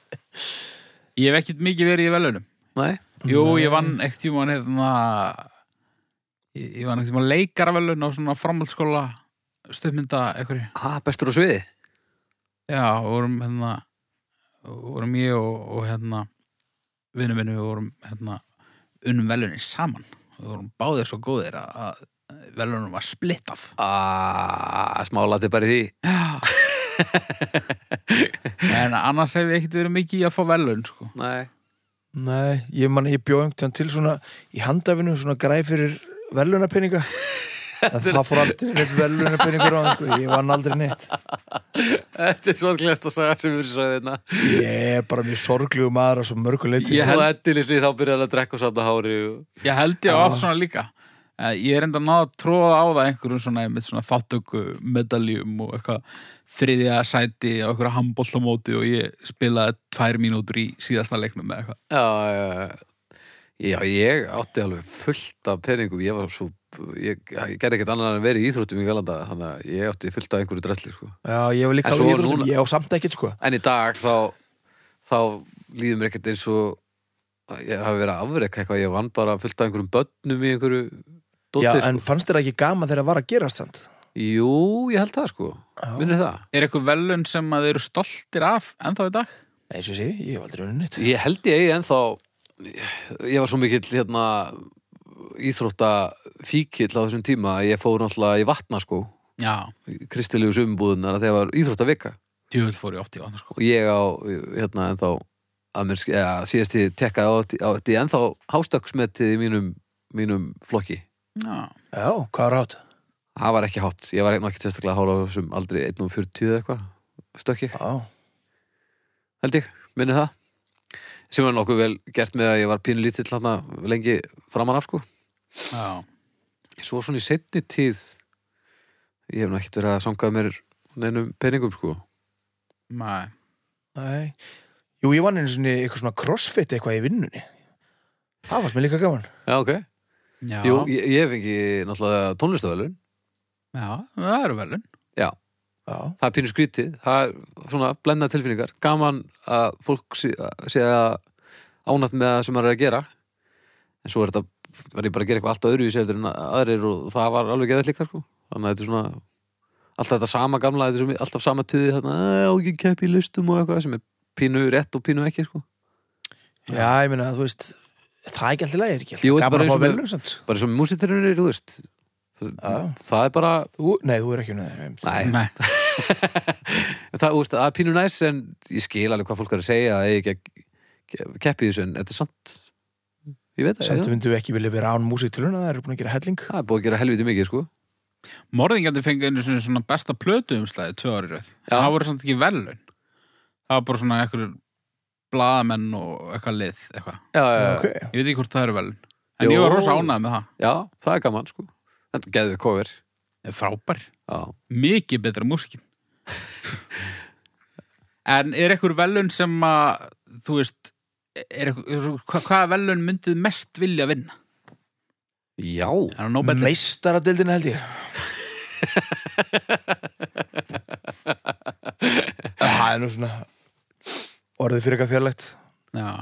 Ég hef ekkert mikið verið í velunum. nei, Jú, ég vann ekkert tíma hérna, ég, ég vann ekkert tíma leikarvelun á svona framhaldsskóla stöðmynda einhverju. ha, bestur á sviði Já, og vorum hérna vorum ég og, og hérna vinnu minni, við vorum hérna unnum velunin saman og við vorum báðir svo góðir að, að velunum var splittað að smálaði bara í því en annars hef ég ekkert verið mikið í að fá velun sko. Nei, Nei, ég man ég bjóð einhvern tíðan til svona í handafinu svona græf fyrir velunarpenninga en það fór aldrei neitt velunarpenningur á hann sko. ég vann aldrei neitt þetta er sorglegast að saga sem við sagði þetta ég er bara mjög sorglegu maður að svo mörgu leyti Ég held Eddi litli þá byrjaði að drekka og safna hári og... ég held ég átt svona líka Eh, ég er enda að náða að tróða á það einhverjum svona, með svona þáttöku medaljum og eitthvað þriðja sæti á einhverja handbóltamóti og ég spilaði tvær mínútur í síðasta leiknum með eitthvað Já, já, já Já, ég átti alveg fullt af peningum Ég var svo Ég, ég gerði ekkert annað en verið í íþróttum í galanda Þannig að ég átti fullt af einhverju dressli sko. já, ég var líka En svo alveg íþróttum núna- ég á samt ekkert sko En í dag þá Þá líður mér ekkert eins og að Ég hafi verið að afreka eitthvað Ég vann bara fullt af einhverjum börnum í einhverju já, Dóttir, en sko. fannst þér ekki gaman þegar það var að gera samt Jú, ég held það sko Minnir það er eitthvað velun sem að þau eru stoltir af ennþá í dag Nei, eins og sé, ég hef aldrei unnið neitt Ég held ég eigi ennþá Ég var svo mikill hérna Íþrótta fíkill á þessum tíma að Ég fór náttúrulega í vatna sko já, kristilegu sumbúðunar að þegar var íþrótta vika djúvel fór ég oft í vatna sko. og ég á, hérna, ennþá að mér, sk- eða, síðast ég tekkaði á, á því ennþá hástöksmetið í mínum, mínum flokki já, já, hvað var átt? það var ekki hátt, ég var einn og ekki sérstaklega hár á þessum aldrei 1.40 eða eitthvað stökki, já, held ég, minni það sem var nokkuð vel gert með að ég var pínlítill hérna lengi framan af sko já, svo svona í setni tíð ég hef nú ekkert verið að sangaði mér neinum peningum sko nei nei jú, ég vann einu svona eitthvað svona crossfit eitthvað í vinnunni það fannst mér líka gaman Já, ok. já, Jú, ég, ég fengi náttúrulega tónlistavælun já, það eru velun Já, já, það er pínu skrítið það er svona blendna tilfinningar gaman að fólk sé, sé að ánætt með það sem maður er að gera en svo er þetta var ég bara að gera eitthvað alltaf öðruvísi eftir en aðrir og það var alveg geðvægt líka sko þannig að þetta er svona alltaf þetta sama gamla, þetta er svona, alltaf sama tuði þarna, "Æ, og ég kepp í listum og eitthvað sem er pínu rétt og pínu ekki sko já, ég meina, þú veist það er ekki alltaf lægir, ekki alltaf Jú, þetta er bara gaman að eins fá og með- velun samt bara eins og músitirunir, þú veist Já. það er bara Ú, nei, þú er ekki unnið Nei, nei, En það, úst, það er pínu næs en ég skil alveg hvað fólk er að segja að ég ekki að keppi þessu en þetta er sant ég veit það, Samt já. myndu við ekki vilja vera án músík til huna, það eru búin að gera helling. það er búið að gera helviti mikið sko morðingjandi fengið einu sinni svona besta plötu umslæði tvö ári röð Já. það voru samt ekki velun það var bara svona einhverjur blaðamenn og eitthvað lið eitthvað. já, já, Ok. já, ég veit ekki hvort það eru velun en Jó. ég var rosa ánægð með það já, það er gaman sko þetta geðu við cover Það er frábær, já. mikið betra músikin en er eitthvað velun sem að þú veist er eitthvað, hva, hvaða velun myndið mest vilja vinna? já, Er það Nobel? Meistaradildin held ég. Það er nú svona orðið fyrir eitthvað fjarlægt. Já.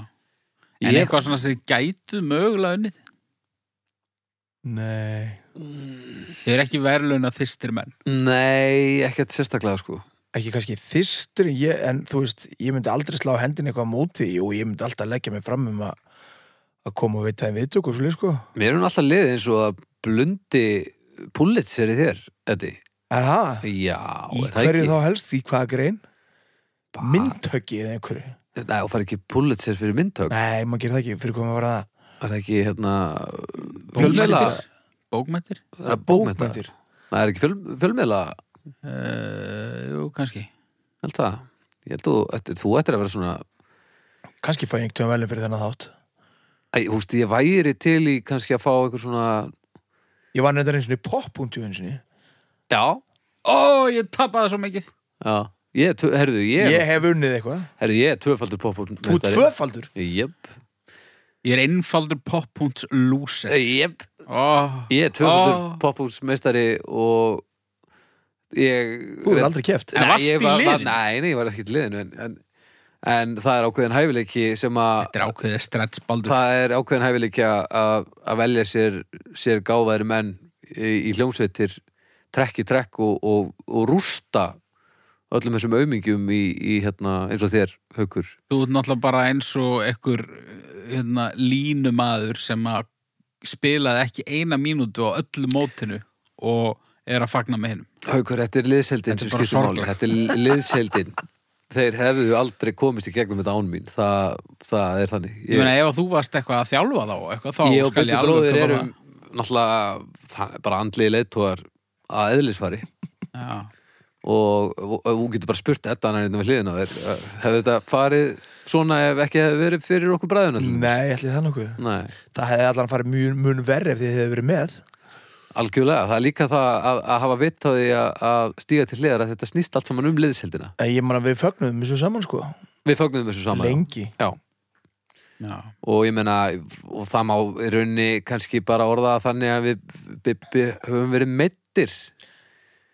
en Ég- eitthvað svona sem þið gætu mögulega unnið Nei. þið er ekki verðlun að þýstir menn nei, ekkert sérstaklega sko Ekki kannski þystur, ég, en þú veist, ég myndi aldrei slá hendin eitthvað á móti því og ég myndi alltaf leggja mig fram um að að koma og veita þeim viðtök og svolítið, sko. mér er hún alltaf liðið eins og að blundi pullit sér í þér Eddi. Er það? já, Í er það hverju ekki Ah. þá helst, í hvaða grein? Ba- Myndhöggi eða einhverju? nei, og fær ekki pullit sér fyrir myndtök Nei, maður gerir það ekki, fyrir hvað maður var það? er það ekki hérna fjölmeila bókmættir? bókmyndir Það er ekki fjöl, fjölmiðla, Uh, jú, kannski held það. Ég held þú, ættir, þú ættir að vera svona, Kanski fæ ég einhvern veginn velum fyrir þennan þátt. æ, húst, ég væri til í kannski að fá einhver svona, Ég var nefndar eins og poppuntjú eins og niður. já, ó, ég tapaði svo mikið já, ég, er tvö- herðu, ég, Ég hef unnið eitthvað. herðu, ég er tvöfaldur poppum. Þú ert tvöfaldur. Jöp, ég er einfaldur poppunt lúser jöp, oh. ég er tvöfaldur Ó. oh. poppumsmeistari og ég... Þú ert aldrei keft. En Nei, varstu ég í var- var- liðinu? Nei, nei, ég var ekki í liðinu, en, en, en það er ákveðin hæfileiki sem að... þetta er ákveðið stretch baldur það er ákveðin hæfileikja að, að velja sér, sér gáðæri menn í, í hljómsveitir trekk í trekk og, og, og rústa öllum þessum aumingjum í, í hérna, eins og þér, haukur Þú ert náttúrulega bara eins og ekkur hérna, línumaður sem að spilaði ekki eina mínútu á öllu mótinu og er að fagna með hinnum Haukur, þetta er liðseldin Þetta er sem bara skiptir máli. sorglegt. Þetta er liðseldin Þeir hefðu aldrei komist í gegnum þetta án mín Það, það er þannig Ég meina, ef að þú varst eitthvað að þjálfa þá, og eitthvað, þá ég og skal Bubbi ég alveg bróðir kaupa erum náttúrulega það er bara andlegi leiðtógar að eðlisfari það. Já. og og- og þú getur bara spurt þetta hann er hérna við hliðina á þér hefði þetta farið svona ef ekki hefði verið fyrir okkur bræðuna Nei, ætli það nokkuð Nei, Það hefði allan farið mjög mun verri ef þið hefði verið með algjörlega, það er líka það að, að hafa vitt á því að, að stíga til hliðar að þetta snýst allt saman um liðseldina En ég man að við fögnum þessu saman sko Við fögnum þessu saman já. Lengi Já, Já. og ég meina og það má í raunni kannski bara orða það þannig að við Bibbi höfum verið meittir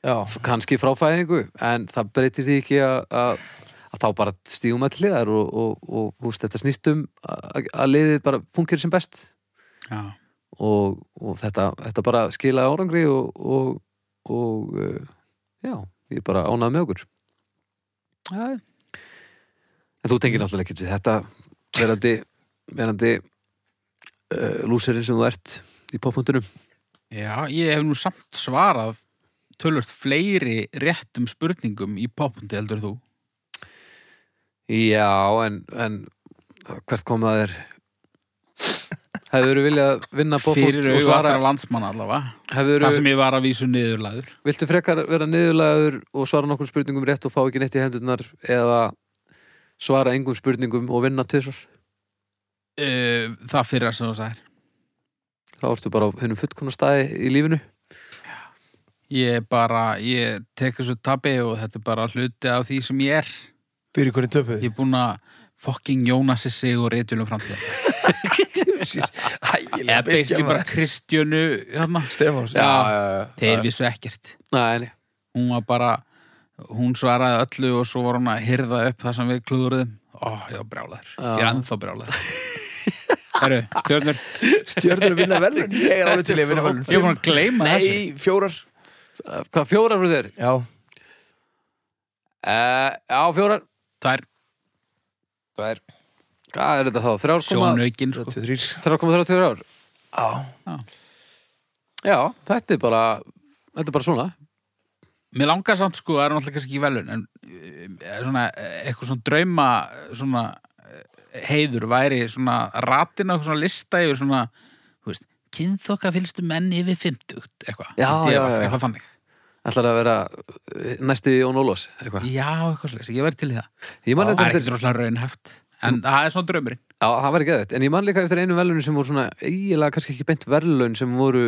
Já, kannski frá fæðingu en það breytir því ekki að, að, að þá bara stígum að hliðar og, og, og, og þetta snýst um að, að liðið bara fungir sem best Já. og, og þetta, þetta bara skilaði árangri og, og, og uh, já, ég bara ánaði með okkur Já. en þú tengir náttúrulega ekki við þetta verandi, verandi uh, lúserinn sem þú ert í poppuntunum Já, ég hef nú samt svarað tölvört fleiri réttum spurningum í popundi heldur þú. Já, en, en hvert kom það er Hefur þú viljað vinna bókbútt Hérna, Fyrir og auðvitað svara allra landsmanna allavega. Hefur Það þú, sem ég var að vísu niðurlæður. viltu frekar vera niðurlegaður og svara nokkur spurningum rétt og fá ekki neitt í hendurnar eða svara engum spurningum og vinna tvisvar Uh, það fyrir að sem þú sagðir. þá ertu bara á hennum fullkomna staði í lífinu Ég bara, ég tek þessu tabi og þetta er bara hluti af því sem ég er. fyrir hvernig töpuð Ég er búin að fucking Jónasi sig og reytjulum framtíða. Ægilega Eða beisli bara Kristjönu, hérna. Stefáns Já, já, Þeir vissu ekkert. Nei, nei, hún var bara hún svaraði öllu og svo var hún að hyrða upp það sem við klúðurðum ó, ég var brjálæður, ég er Já. ennþá brjálæður Herru, stjörnur Stjörnur að vinna velun Ég er alveg til í að vinna velun Ég er búin að gleyma þessu Nei, fjórar Eh, hvað fjórar fyrir þér? Já, Uh, já, fjórar Það er Tvær Hvað er þetta þá? Þrjár koma- sjónaukin sko. 23 þrjár koma þrjár tveir ár? Já, Já, þetta er bara þetta er bara svona Mér langar samt sko, það er náttúrulega kannski ekki velun en eh, svona, eh, eitthvað svona drauma svona eh, heiður væri svona ratin á eitthvað svona lista yfir svona, þú veist kynþokka fylgstu menn yfir 50 eitthvað, Já, DF, já, já, já. eitthvað þannig ætlar að vera eh, næsti Jón Ólafs eitthvað. Já, eitthvað slis, ég verð til í það Ég man þetta Það er eftir, ekkert rosalega raunhæft En það er svona draumurinn já, það var ekki aðeitt en ég man líka eftir einu verðlun sem voru svona eiginlega kannski ekki beint verðlun sem voru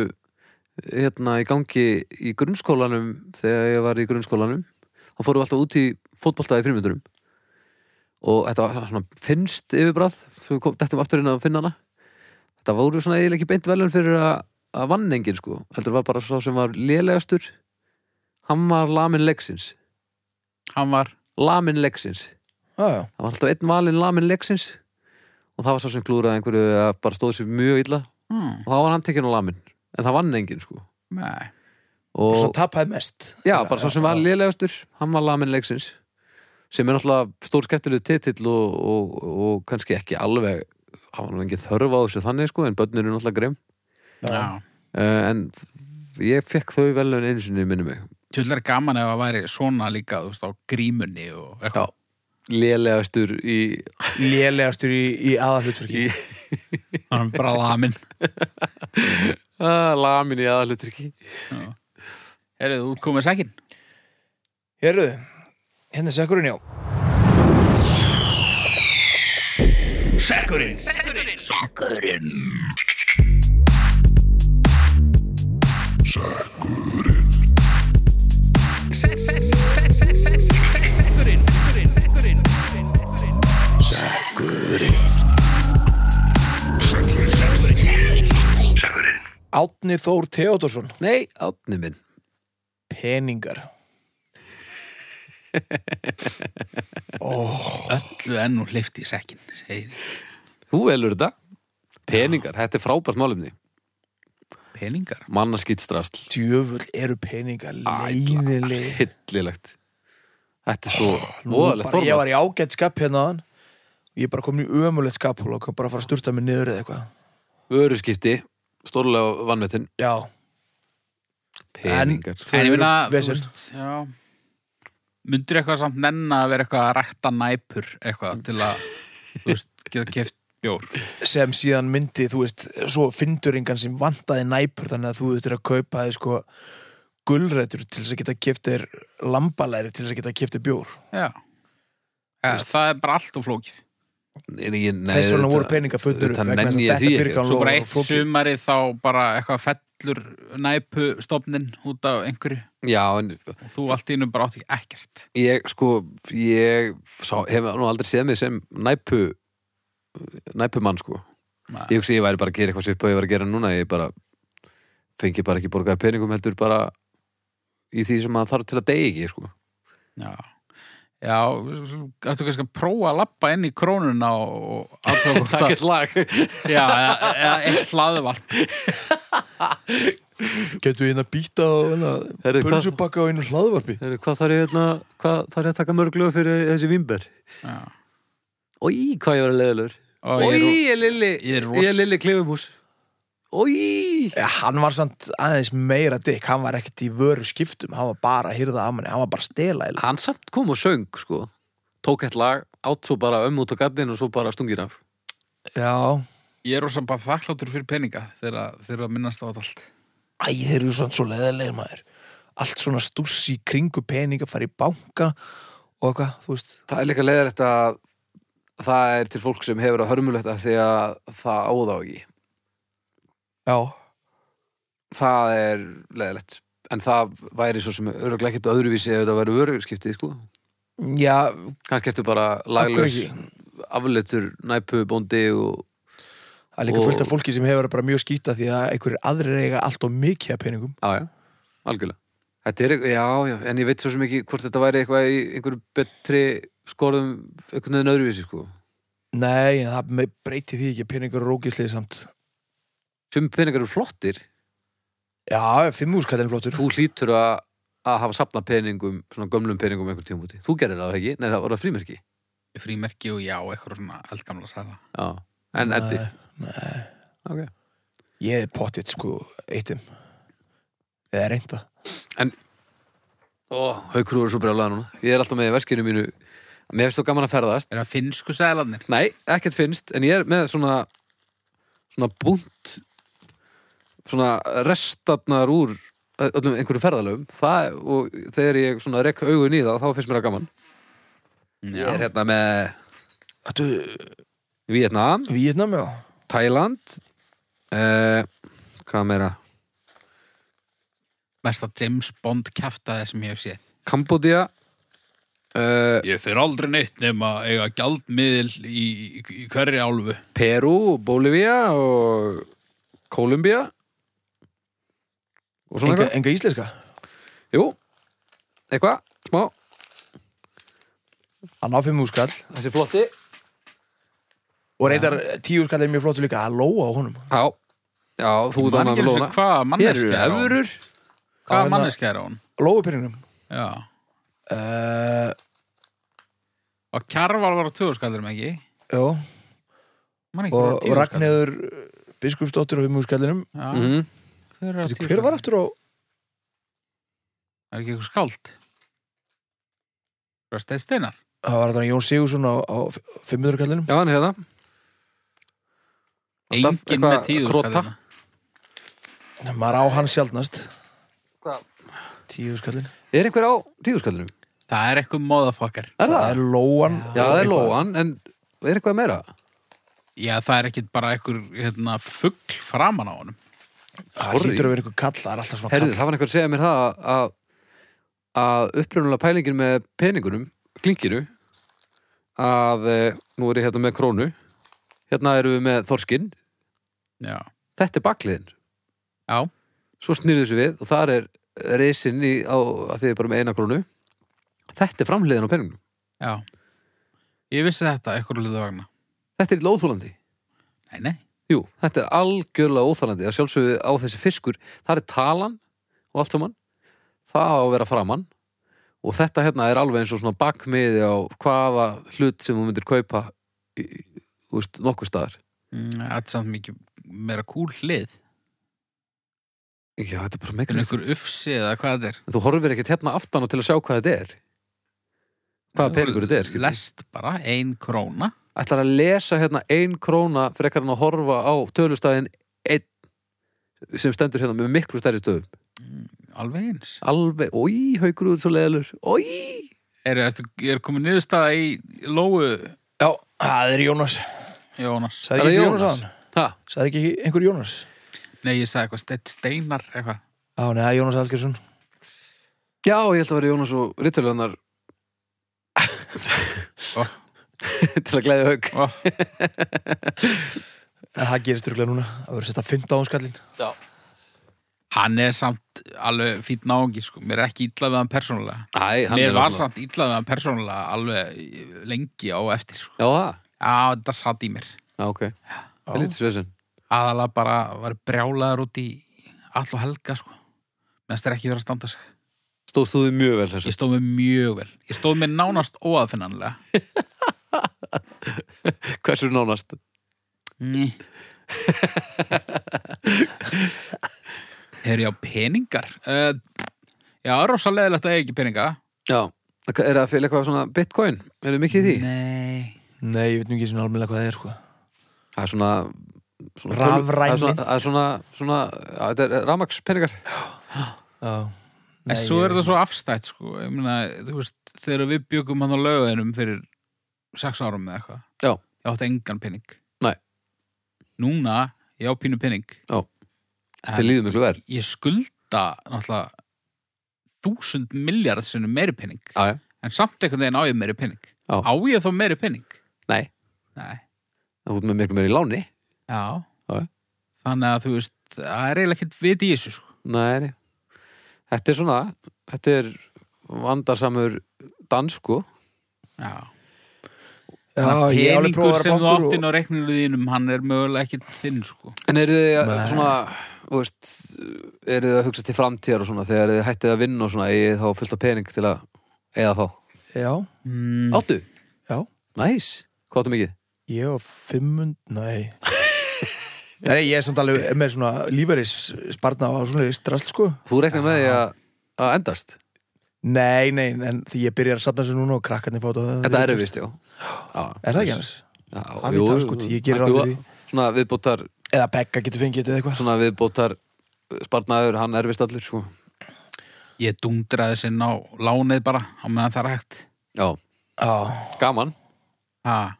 hérna í gangi í grunnskólanum þegar ég var í grunnskólanum þá fórum við alltaf út í fótboltaði frímyndurum og þetta var svona finnst yfirbrað, þú kom, dettum aftur inn að finna hana þetta voru svona eiginlega ekki beint verðlun fyrir að, að vann engin sko heldur var bara svo sem var lélegastur hann var lamin leiksins Hann var lamin leiksins já, já það var alltaf einn valinn lamin leiksins og það var sá sem klúraði einhverju að bara stóð sér mjög illa hmm, og það var hann tekinn á lamin en það vann enginn sko Nei Og svo og tapaði mest já, bara sá sem var lélegastur hann var lamin leiksins sem er náttúrulega stór skemmtilegu titill og, og, og kannski ekki alveg hann var nú engin þörf á þessu þannig sko en börnin er náttúrulega greim Já. Já uh, en ég fekk þau velun einu sinni minni mig Tjöldlega gaman ef að væri svona líka, þú veist, á grímunni og eitthvað lélegastur í Lélegastur í, í aðalhutverki Í- Hann er bara lamin ah, lamin í aðalutryggi Herðu, þú komið sækin Hérðu, hérna er sekkurinn já Átni Þór Theodorsson nei, átni minn Peningar Öllu enn og hlifti í sækin segir Þú velur þetta Peningar, þetta er frábært málumni peningar Mannaskýtstrasl Djöfull eru peningar leiðileg Hillilegt Þetta er svo voðalegt Ég format var í ágætt skap hérna áðan. Ég er bara komin í ömulegt skaphóla og kom bara að fara að sturta mig niður eða eitthvað Vöruskipti, stórlega vannmetin Já, peningar Þau En ég eru meina, þú vesen. veist, já Mundur eitthvað samt nenn að vera eitthvað að rækta næpur eitthvað til að, þú veist, geta keft bjór sem síðan myndi, þú veist, svo fynduringan sem vantaði næpur þannig að þú þurftir að kaupa þið sko gulrætur til þess að geta keftir lambalæri til þess að geta keftir bjór Já ja, Það er bara allt og flókið En ég- nei, þess vegna þetta- voru peninga fullur þetta nenni ég því ekki. Svo bara eitt sumari þá bara eitthvað fellur næpu stofnin út af einhverju Já, en og þú allt í einu bara átt ekki ekkert ég sko ég sá, hef nú aldrei séð mig sem næpu næpumann sko Nei. ég hugsi ég væri bara að gera eitthvað svipað og ég var að gera núna ég bara fengi bara ekki borgaði peningum heldur bara í því sem maður þarf til að degi ekki sko Já Já, ættu kannski að prófa að lappa inn í krónuna og aðtöku Takk eitt lag Já, eða eða eitt hlaðvarp getur við hérna býta og Herri, hvað- pulsubakka á einu hlaðvarpi Hvað þarf ég, hérna, hvað þarf ég að taka mörglu fyrir þessi vimber? Já. Í, hvað ég var að leiðilegur Og Í, ég ég er ú- er lilli ég er ros- Ég er lilli klefumús Í, ja, Eh, hann var samt aðeins meira dykk hann var ekkert í vöru skiptum hann var bara að hýrða af manni, hann var bara að stela eiginlega. hann samt kom og söng sko Tók eitt lag, átt svo bara ömmu út á gardin og svo bara stungir af já, Ég er rosa bara þakkláttur fyrir peninga þegar þegar að minnast á þetta allt. æ, þeir eru svona svo leðilegir maður allt svona stússi í kringu peninga fara í banka og eitthvað, þú veist Það er líka leiðilegt að það er til fólk sem hefur að hörmulegt að því að það áða ekki. já, Það er leiðilegt. En það væri svo sem öruglega ekkert öðruvísi ef það væri örugskiptið, sko. Já, Kannski eftir bara af hverju laglaus ekki? afleitur næpubóndi og Það er líka Og- fullt af fólki sem hefur bara mjög skýta því að einhverjir aðrir eiga allt og mikið af peningum. Já, já, algjörlega Þetta er, eitthvað- já, já, en ég veit svo sem ekki hvort þetta væri eitthvað í einhverju betri skorðum einhvern veginn öðruvísi, sko Nei, en það me- breytir því ekki að peningur eru ógislega samt. Sum peningar eru flottir Já, fimm úrskall en flottur. Þú hlýtur að, að hafa sapna peningum svona gömlum peningum einhvern tíum úti Þú gerir það ekki, nei það voru að frímerki Frímerki og já, eitthvað svona eldgamla sæla. Já, en eddi Nei, okay. ég er pottið sko eittum. Eða reynda. Ó, haukur voru svo brjálega núna Ég er alltaf með í verskinu mínu Mér finnst þó gaman að ferðast Er það finnsku sælanir? Nei, ekkert finnst, en ég er með svona svona búnt svona restarnar úr öllum einhverju ferðalöfum það, og þegar ég svona rekk augun í það þá finnst mér það gaman Já. Ég er hérna með Þetta Vietnam, Víðnam, já. Thailand eh, hvað meira Mesta James Bond kæftaði sem ég hef séð. Kambodía eh, Ég fyrir aldrei neitt nema eiga gjaldmiðl í, í, í hverri álfu. Peru, Bolivía og Kolumbía og svona Enga, eitthvað enga íslenska. Jú, eitthvað, smá Hann á fimm úrskall. Þessi flotti Og reyndar tíu úrskall er mjög flottur líka að lóa á honum. Já, já þú Man dánar ekki eins lóna og hvaða Hér eru manneskja er hún. efurur Já, Hvaða hérna- manneskja er hún? Lóa peningum. Já. Uh, Og Kjarval var á tjóðskallur með ekki? já. Man ekki Og, og var á tíu Ragnheður Biskupsdóttir á fimm úrskallinum. skallur. Mhm. Hver var á tíu Hver var aftur á... Er ekki eitthvað skáld? Hvað steið steinar? Það var þarna Jón Sigursson á, á 500 kallinum Já, hann er hérna Alltaf Engin eitthvað með tíu krota. skallina. maður á hann sjaldnast Hva? 10 skallin Er einhver á tíuskallunum? Það er eitthvað móðafokkar. Er það það? er Lóan Já, það og er eitthvað. lóan, en er eitthvað meira? Já, það er ekkit bara einhver hérna, fugg framan á honum. það Sorry. hlýtur að vera einhver kall það er alltaf svona Herðu, kall það var einhver að segja mér það að- að að upprunalega pælingin með peningunum klinkinu að eh, nú er ég hérna með krónu hérna erum við með þorskinn Já. þetta er bakliðin Já. svo snýrðu þessu við og þar er reisinn í, á, að þið er bara með eina krónu þetta er framliðin á peningunum Já. Ég vissi þetta einhverju hlutu vegna. þetta er illa óþólandi Nei, nei. jú, þetta er algjörlega óþólandi að sjálfsögðu á þessi fiskur þar er talan og allt saman það á að vera framann og þetta hérna er alveg eins og svona bakmiði á hvaða hlut sem þú myndir kaupa í, í, þú veist, nokkuð staðar Mm, Þetta er samt mikið meira kúl hlið. já, þetta er bara Þetta er megan einhver ufsi eða hvað þetta er þú horfir ekkert hérna aftan og til að sjá hvað þetta er hvaða peningur þetta er skilur. Lest bara, ein króna ætlar að lesa hérna ein króna frekar en að horfa á tölustæðin einn sem stendur hérna með miklu stærri stöðum Alveg eins alveg, oi, haukur út svo leðalur oi, Er, er, er komin niðurstaða í lóu Já, það er Jónas Jónas Sæði ekki Jónas að ha, Sæði ekki einhver Jónas Nei, ég sagði eitthvað Steinn Steinar eitthvað Á, nei, það er Jónas Hallgjörsson já, ég held að vera Jónas og Rittarljónar Ó. til að glæða haug Ó, En það gerist rúglega núna Það verður setta 15 áskallin já. Hann er samt alveg fýtt náungi sko. Mér er ekki illa við hann persónulega Æ, hann Mér er var náttúrulega- samt illa við hann persónulega alveg eh, lengi á eftir sko. já, það, Já, þetta satt í mér já, ok, helítið svesen Aðalega bara var brjálaður út í all og helga sko. Mest er ekki verið að standa sig stóðst þú þið mjög vel Ég þessu stóð mér mjög vel Ég stóð mér nánast óaðfinnanlega hversu nánast Ný Herri á peningar uh, Já, rosalegilegt að ég ekki peninga já, er það að fylja eitthvað svona bitcoin er það mikið í því? Nei Nei, ég veit nú ekki svona almennilega hvað það er sko. það er svona, svona Rafræn það er svona, það er svona, svona að þetta er ramagspeningar Já En Nei, svo ég- er það svo afstætt sko. Ég meina, þú veist, þegar við byggum hann á lögðinum fyrir sex árum eða eitthvað Já. Ég átti engan pening Nei. Núna, ég á pínu pening þeir líður miklu verð Ég skulda náttúrulega þúsund miljard sinnum meiri pening já, já, En samt einhvern veginn á ég meiri pening Já. Á ég þá meiri pening? nei, Nei það er út með miklu meiri láni Já. Já. Þannig að þú veist, það er eiginlega ekkert vit í þessu, sko. nei, nei. þetta er svona þetta er vandarsamur sko. dansku Já. Já, Þannig að ég hef alveg prófað peningur að sem þú bankur átt og- inn á reikninu þínum, hann er mögulega ekkert þinn, sko. en eru þið að- Nei. svona þú veist, eru þið að hugsa til framtíðar og svona þegar þið hættið að vinna og svona eigið þá fullt af pening til að eða þá Já, Mm, áttu, já næs, hvað áttu mikið? Ég á 500, nei Nei, ég er samt alveg með svona lífæris sparna á svona strast sko þú reknar með því að- að endast Nei, nei, en því ég byrjar að safna þessu núna og krakkarnir fóta það þetta eru vist, já Er það ekki hans? Já, Hann jú, í dag, jú, sko, jú. ég geri En ráð þú- fyrir því. Svona viðbótar, Eða Begga getur fengið þetta eða eitthvað svona viðbótar sparnaður, hann erfist allir sko. ég dundraði sinn á lánið bara, á meðan það er hægt. Já, Já, gaman Ha.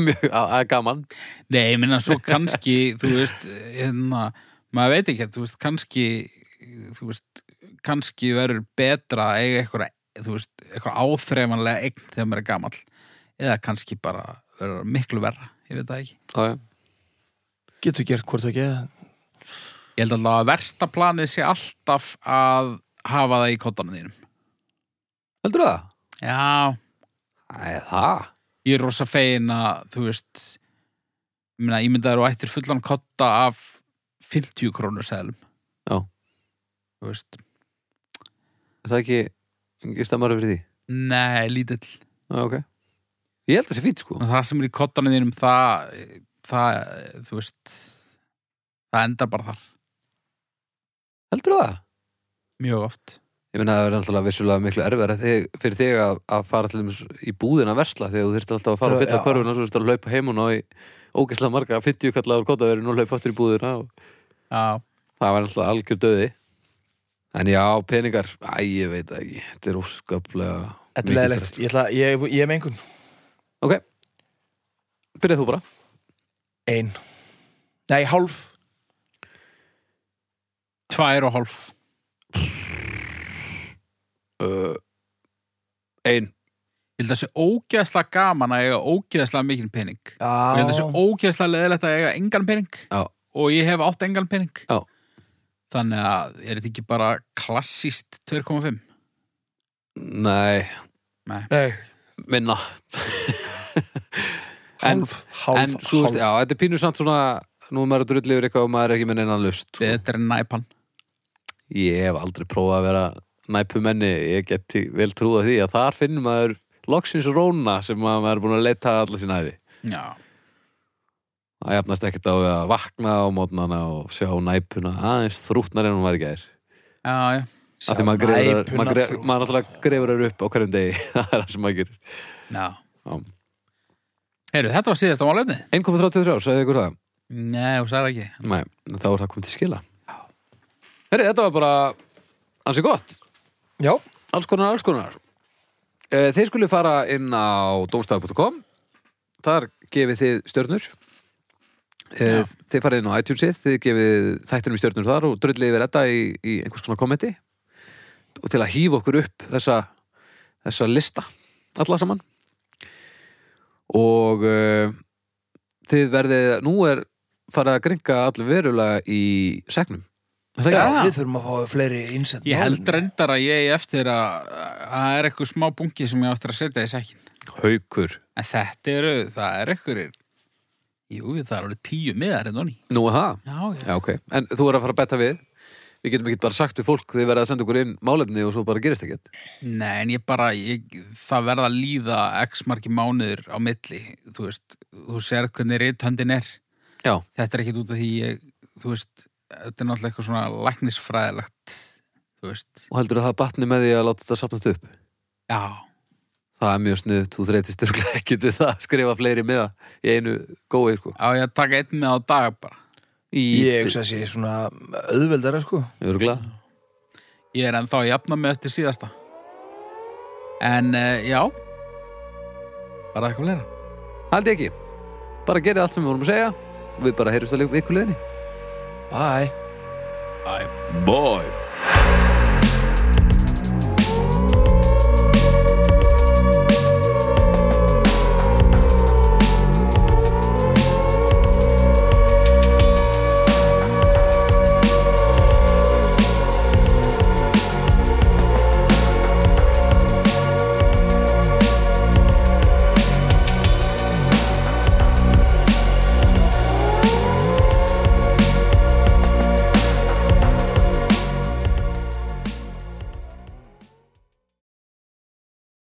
Mjög, að, gaman Nei, ég minna svo kannski, þú veist, hérna, maður veit ekki, þú veist, kannski, þú veist, kannski verður betra að eiga eitthvað, þú veist, eitthvað áþreifanlega eign þegar maður er gamall. Eða kannski bara verður miklu verra, ég veit það ekki. Já, já, getur gert hvort það ekki Ég held alltaf að versta planið sé alltaf að hafa það í kottanum þínum. heldur það? Já, Æ, það ég er rosa fegin að, þú veist, ég meina, ég mynda þér og ættir fullan kotta af 50 krónur seðlum. Já. Þú veist, Er það ekki, ekki stammar fyrir því? nei, lítill. Já, ok Ég held það sé fínt sko Og það sem er í kottanum þínum, það, það, þú veist, það endar bara þar Heldur það? mjög oft. Ég meina það er alltaf vissulega miklu erfæra fyrir þig að, að fara til dæmis í búðina að versla þegar þú þyrfti alltaf að fara að Það- fylla já. körfuna og svo þurfti að laupa heim og ná í ógeðslega marga 50 kallaður kotaverðin og laupa aftur í búðina og Já, Það var alltaf algjör döði En já, peningar Æ, ég veit það ekki, þetta er óskaplega Þetta mikið er leðilegt, drasl. ég, ætla- ég, ég er með einhvern Ok, byrjaðu þú bara Ein Nei, hálf tvær og hálf. uh, Ein Ég held að það sé ógeðslega gaman að eiga ógeðslega mikinn pening. Og ég held að það Já, sé ógeðslega leðilegt að eiga engan pening Já. og ég hef átt engan pening Já. þannig að er þetta ekki bara klassíst 2,5 Nei, nei, minna En- hálf, hálf, En þú hálf. veist, já, þetta er pínu samt svona Nú er maður að drulli yfir eitthvað og maður er ekki með neina lust sko. betur en næpan Ég hef aldrei prófað að vera næpumenni Ég geti vel trúað því að þar finnum maður loksins róna sem maður er búin að leita allar sín æfi Já. Það jafnast ekkert á við að vakna á mótnana og sjá næpuna aðeins þrútnar en hún var í gær. já, já, Af því maður grefur, næpuna maður, gref, þrútnar. maður náttúrulega grefur þær upp á hverjum degi. það er það sem maður gerir. já. Já. Heyrðu, þetta var síðasta málefni? 1,33 ár, sagði ykkur það. Nei, þú sagði ekki. Nei, en þá er það komið til skila. Herri, þetta var bara ansi gott. Já, Alls konar, alls konar. Eh, Þeir skulle fara inn á domstaf.com. Þar gefið þið stjörnur. Eh, Þið farið inn á iTunesið, þið gefið þættinum í stjörnur þar og drullið yfir þetta í, í einhvers konar kommenti. Og til að hýfa okkur upp þessa, þessa lista, alla saman. Og uh, þið verðið, nú er farið að gringa allverulega í segnum. Er það já, ekki? við þurfum að fá fleiri innsett Ég held reyndar að ég eigi eftir að að það er eitthvað smá bungi sem ég áttur að setja í sekkin. Haukur. En þetta eru, það er eitthvað, jú, það er alveg tíu miðar hérna en þannig. Nú er það. Já, já. Já, ok. En þú er að fara að betta við. Við getum ekki bara sagt við fólk þið verða að senda okkur inn málefni og svo bara gerist ekkert. Nei, en ég bara, ég, það verða að líða x margi mánuður á milli, þú veist, þú sér hvernig rithöndin er. Já, Þetta er ekkit út af því ég, þú veist, þetta er náttúrulega eitthvað svona læknisfræðilegt, þú veist, og heldur að það batni með því að láta þetta sapnast upp. já, Það er mjög sniðut, þú þreytist örglega ekkert við það að skrifa fleiri með það í einu gói, sko. á ég að taka einn með á dag bara. Í Ég hugsa að sé svona auðveldara sko örglega. Ég er ennþá að jafna mig eftir síðasta. En, uh, já, bara eitthvað fleira. Haldi ekki. Bara gerið allt sem við vorum að segja. Við bara heyrjumst að líka ykkur leðinni. Bye Æ, Bye.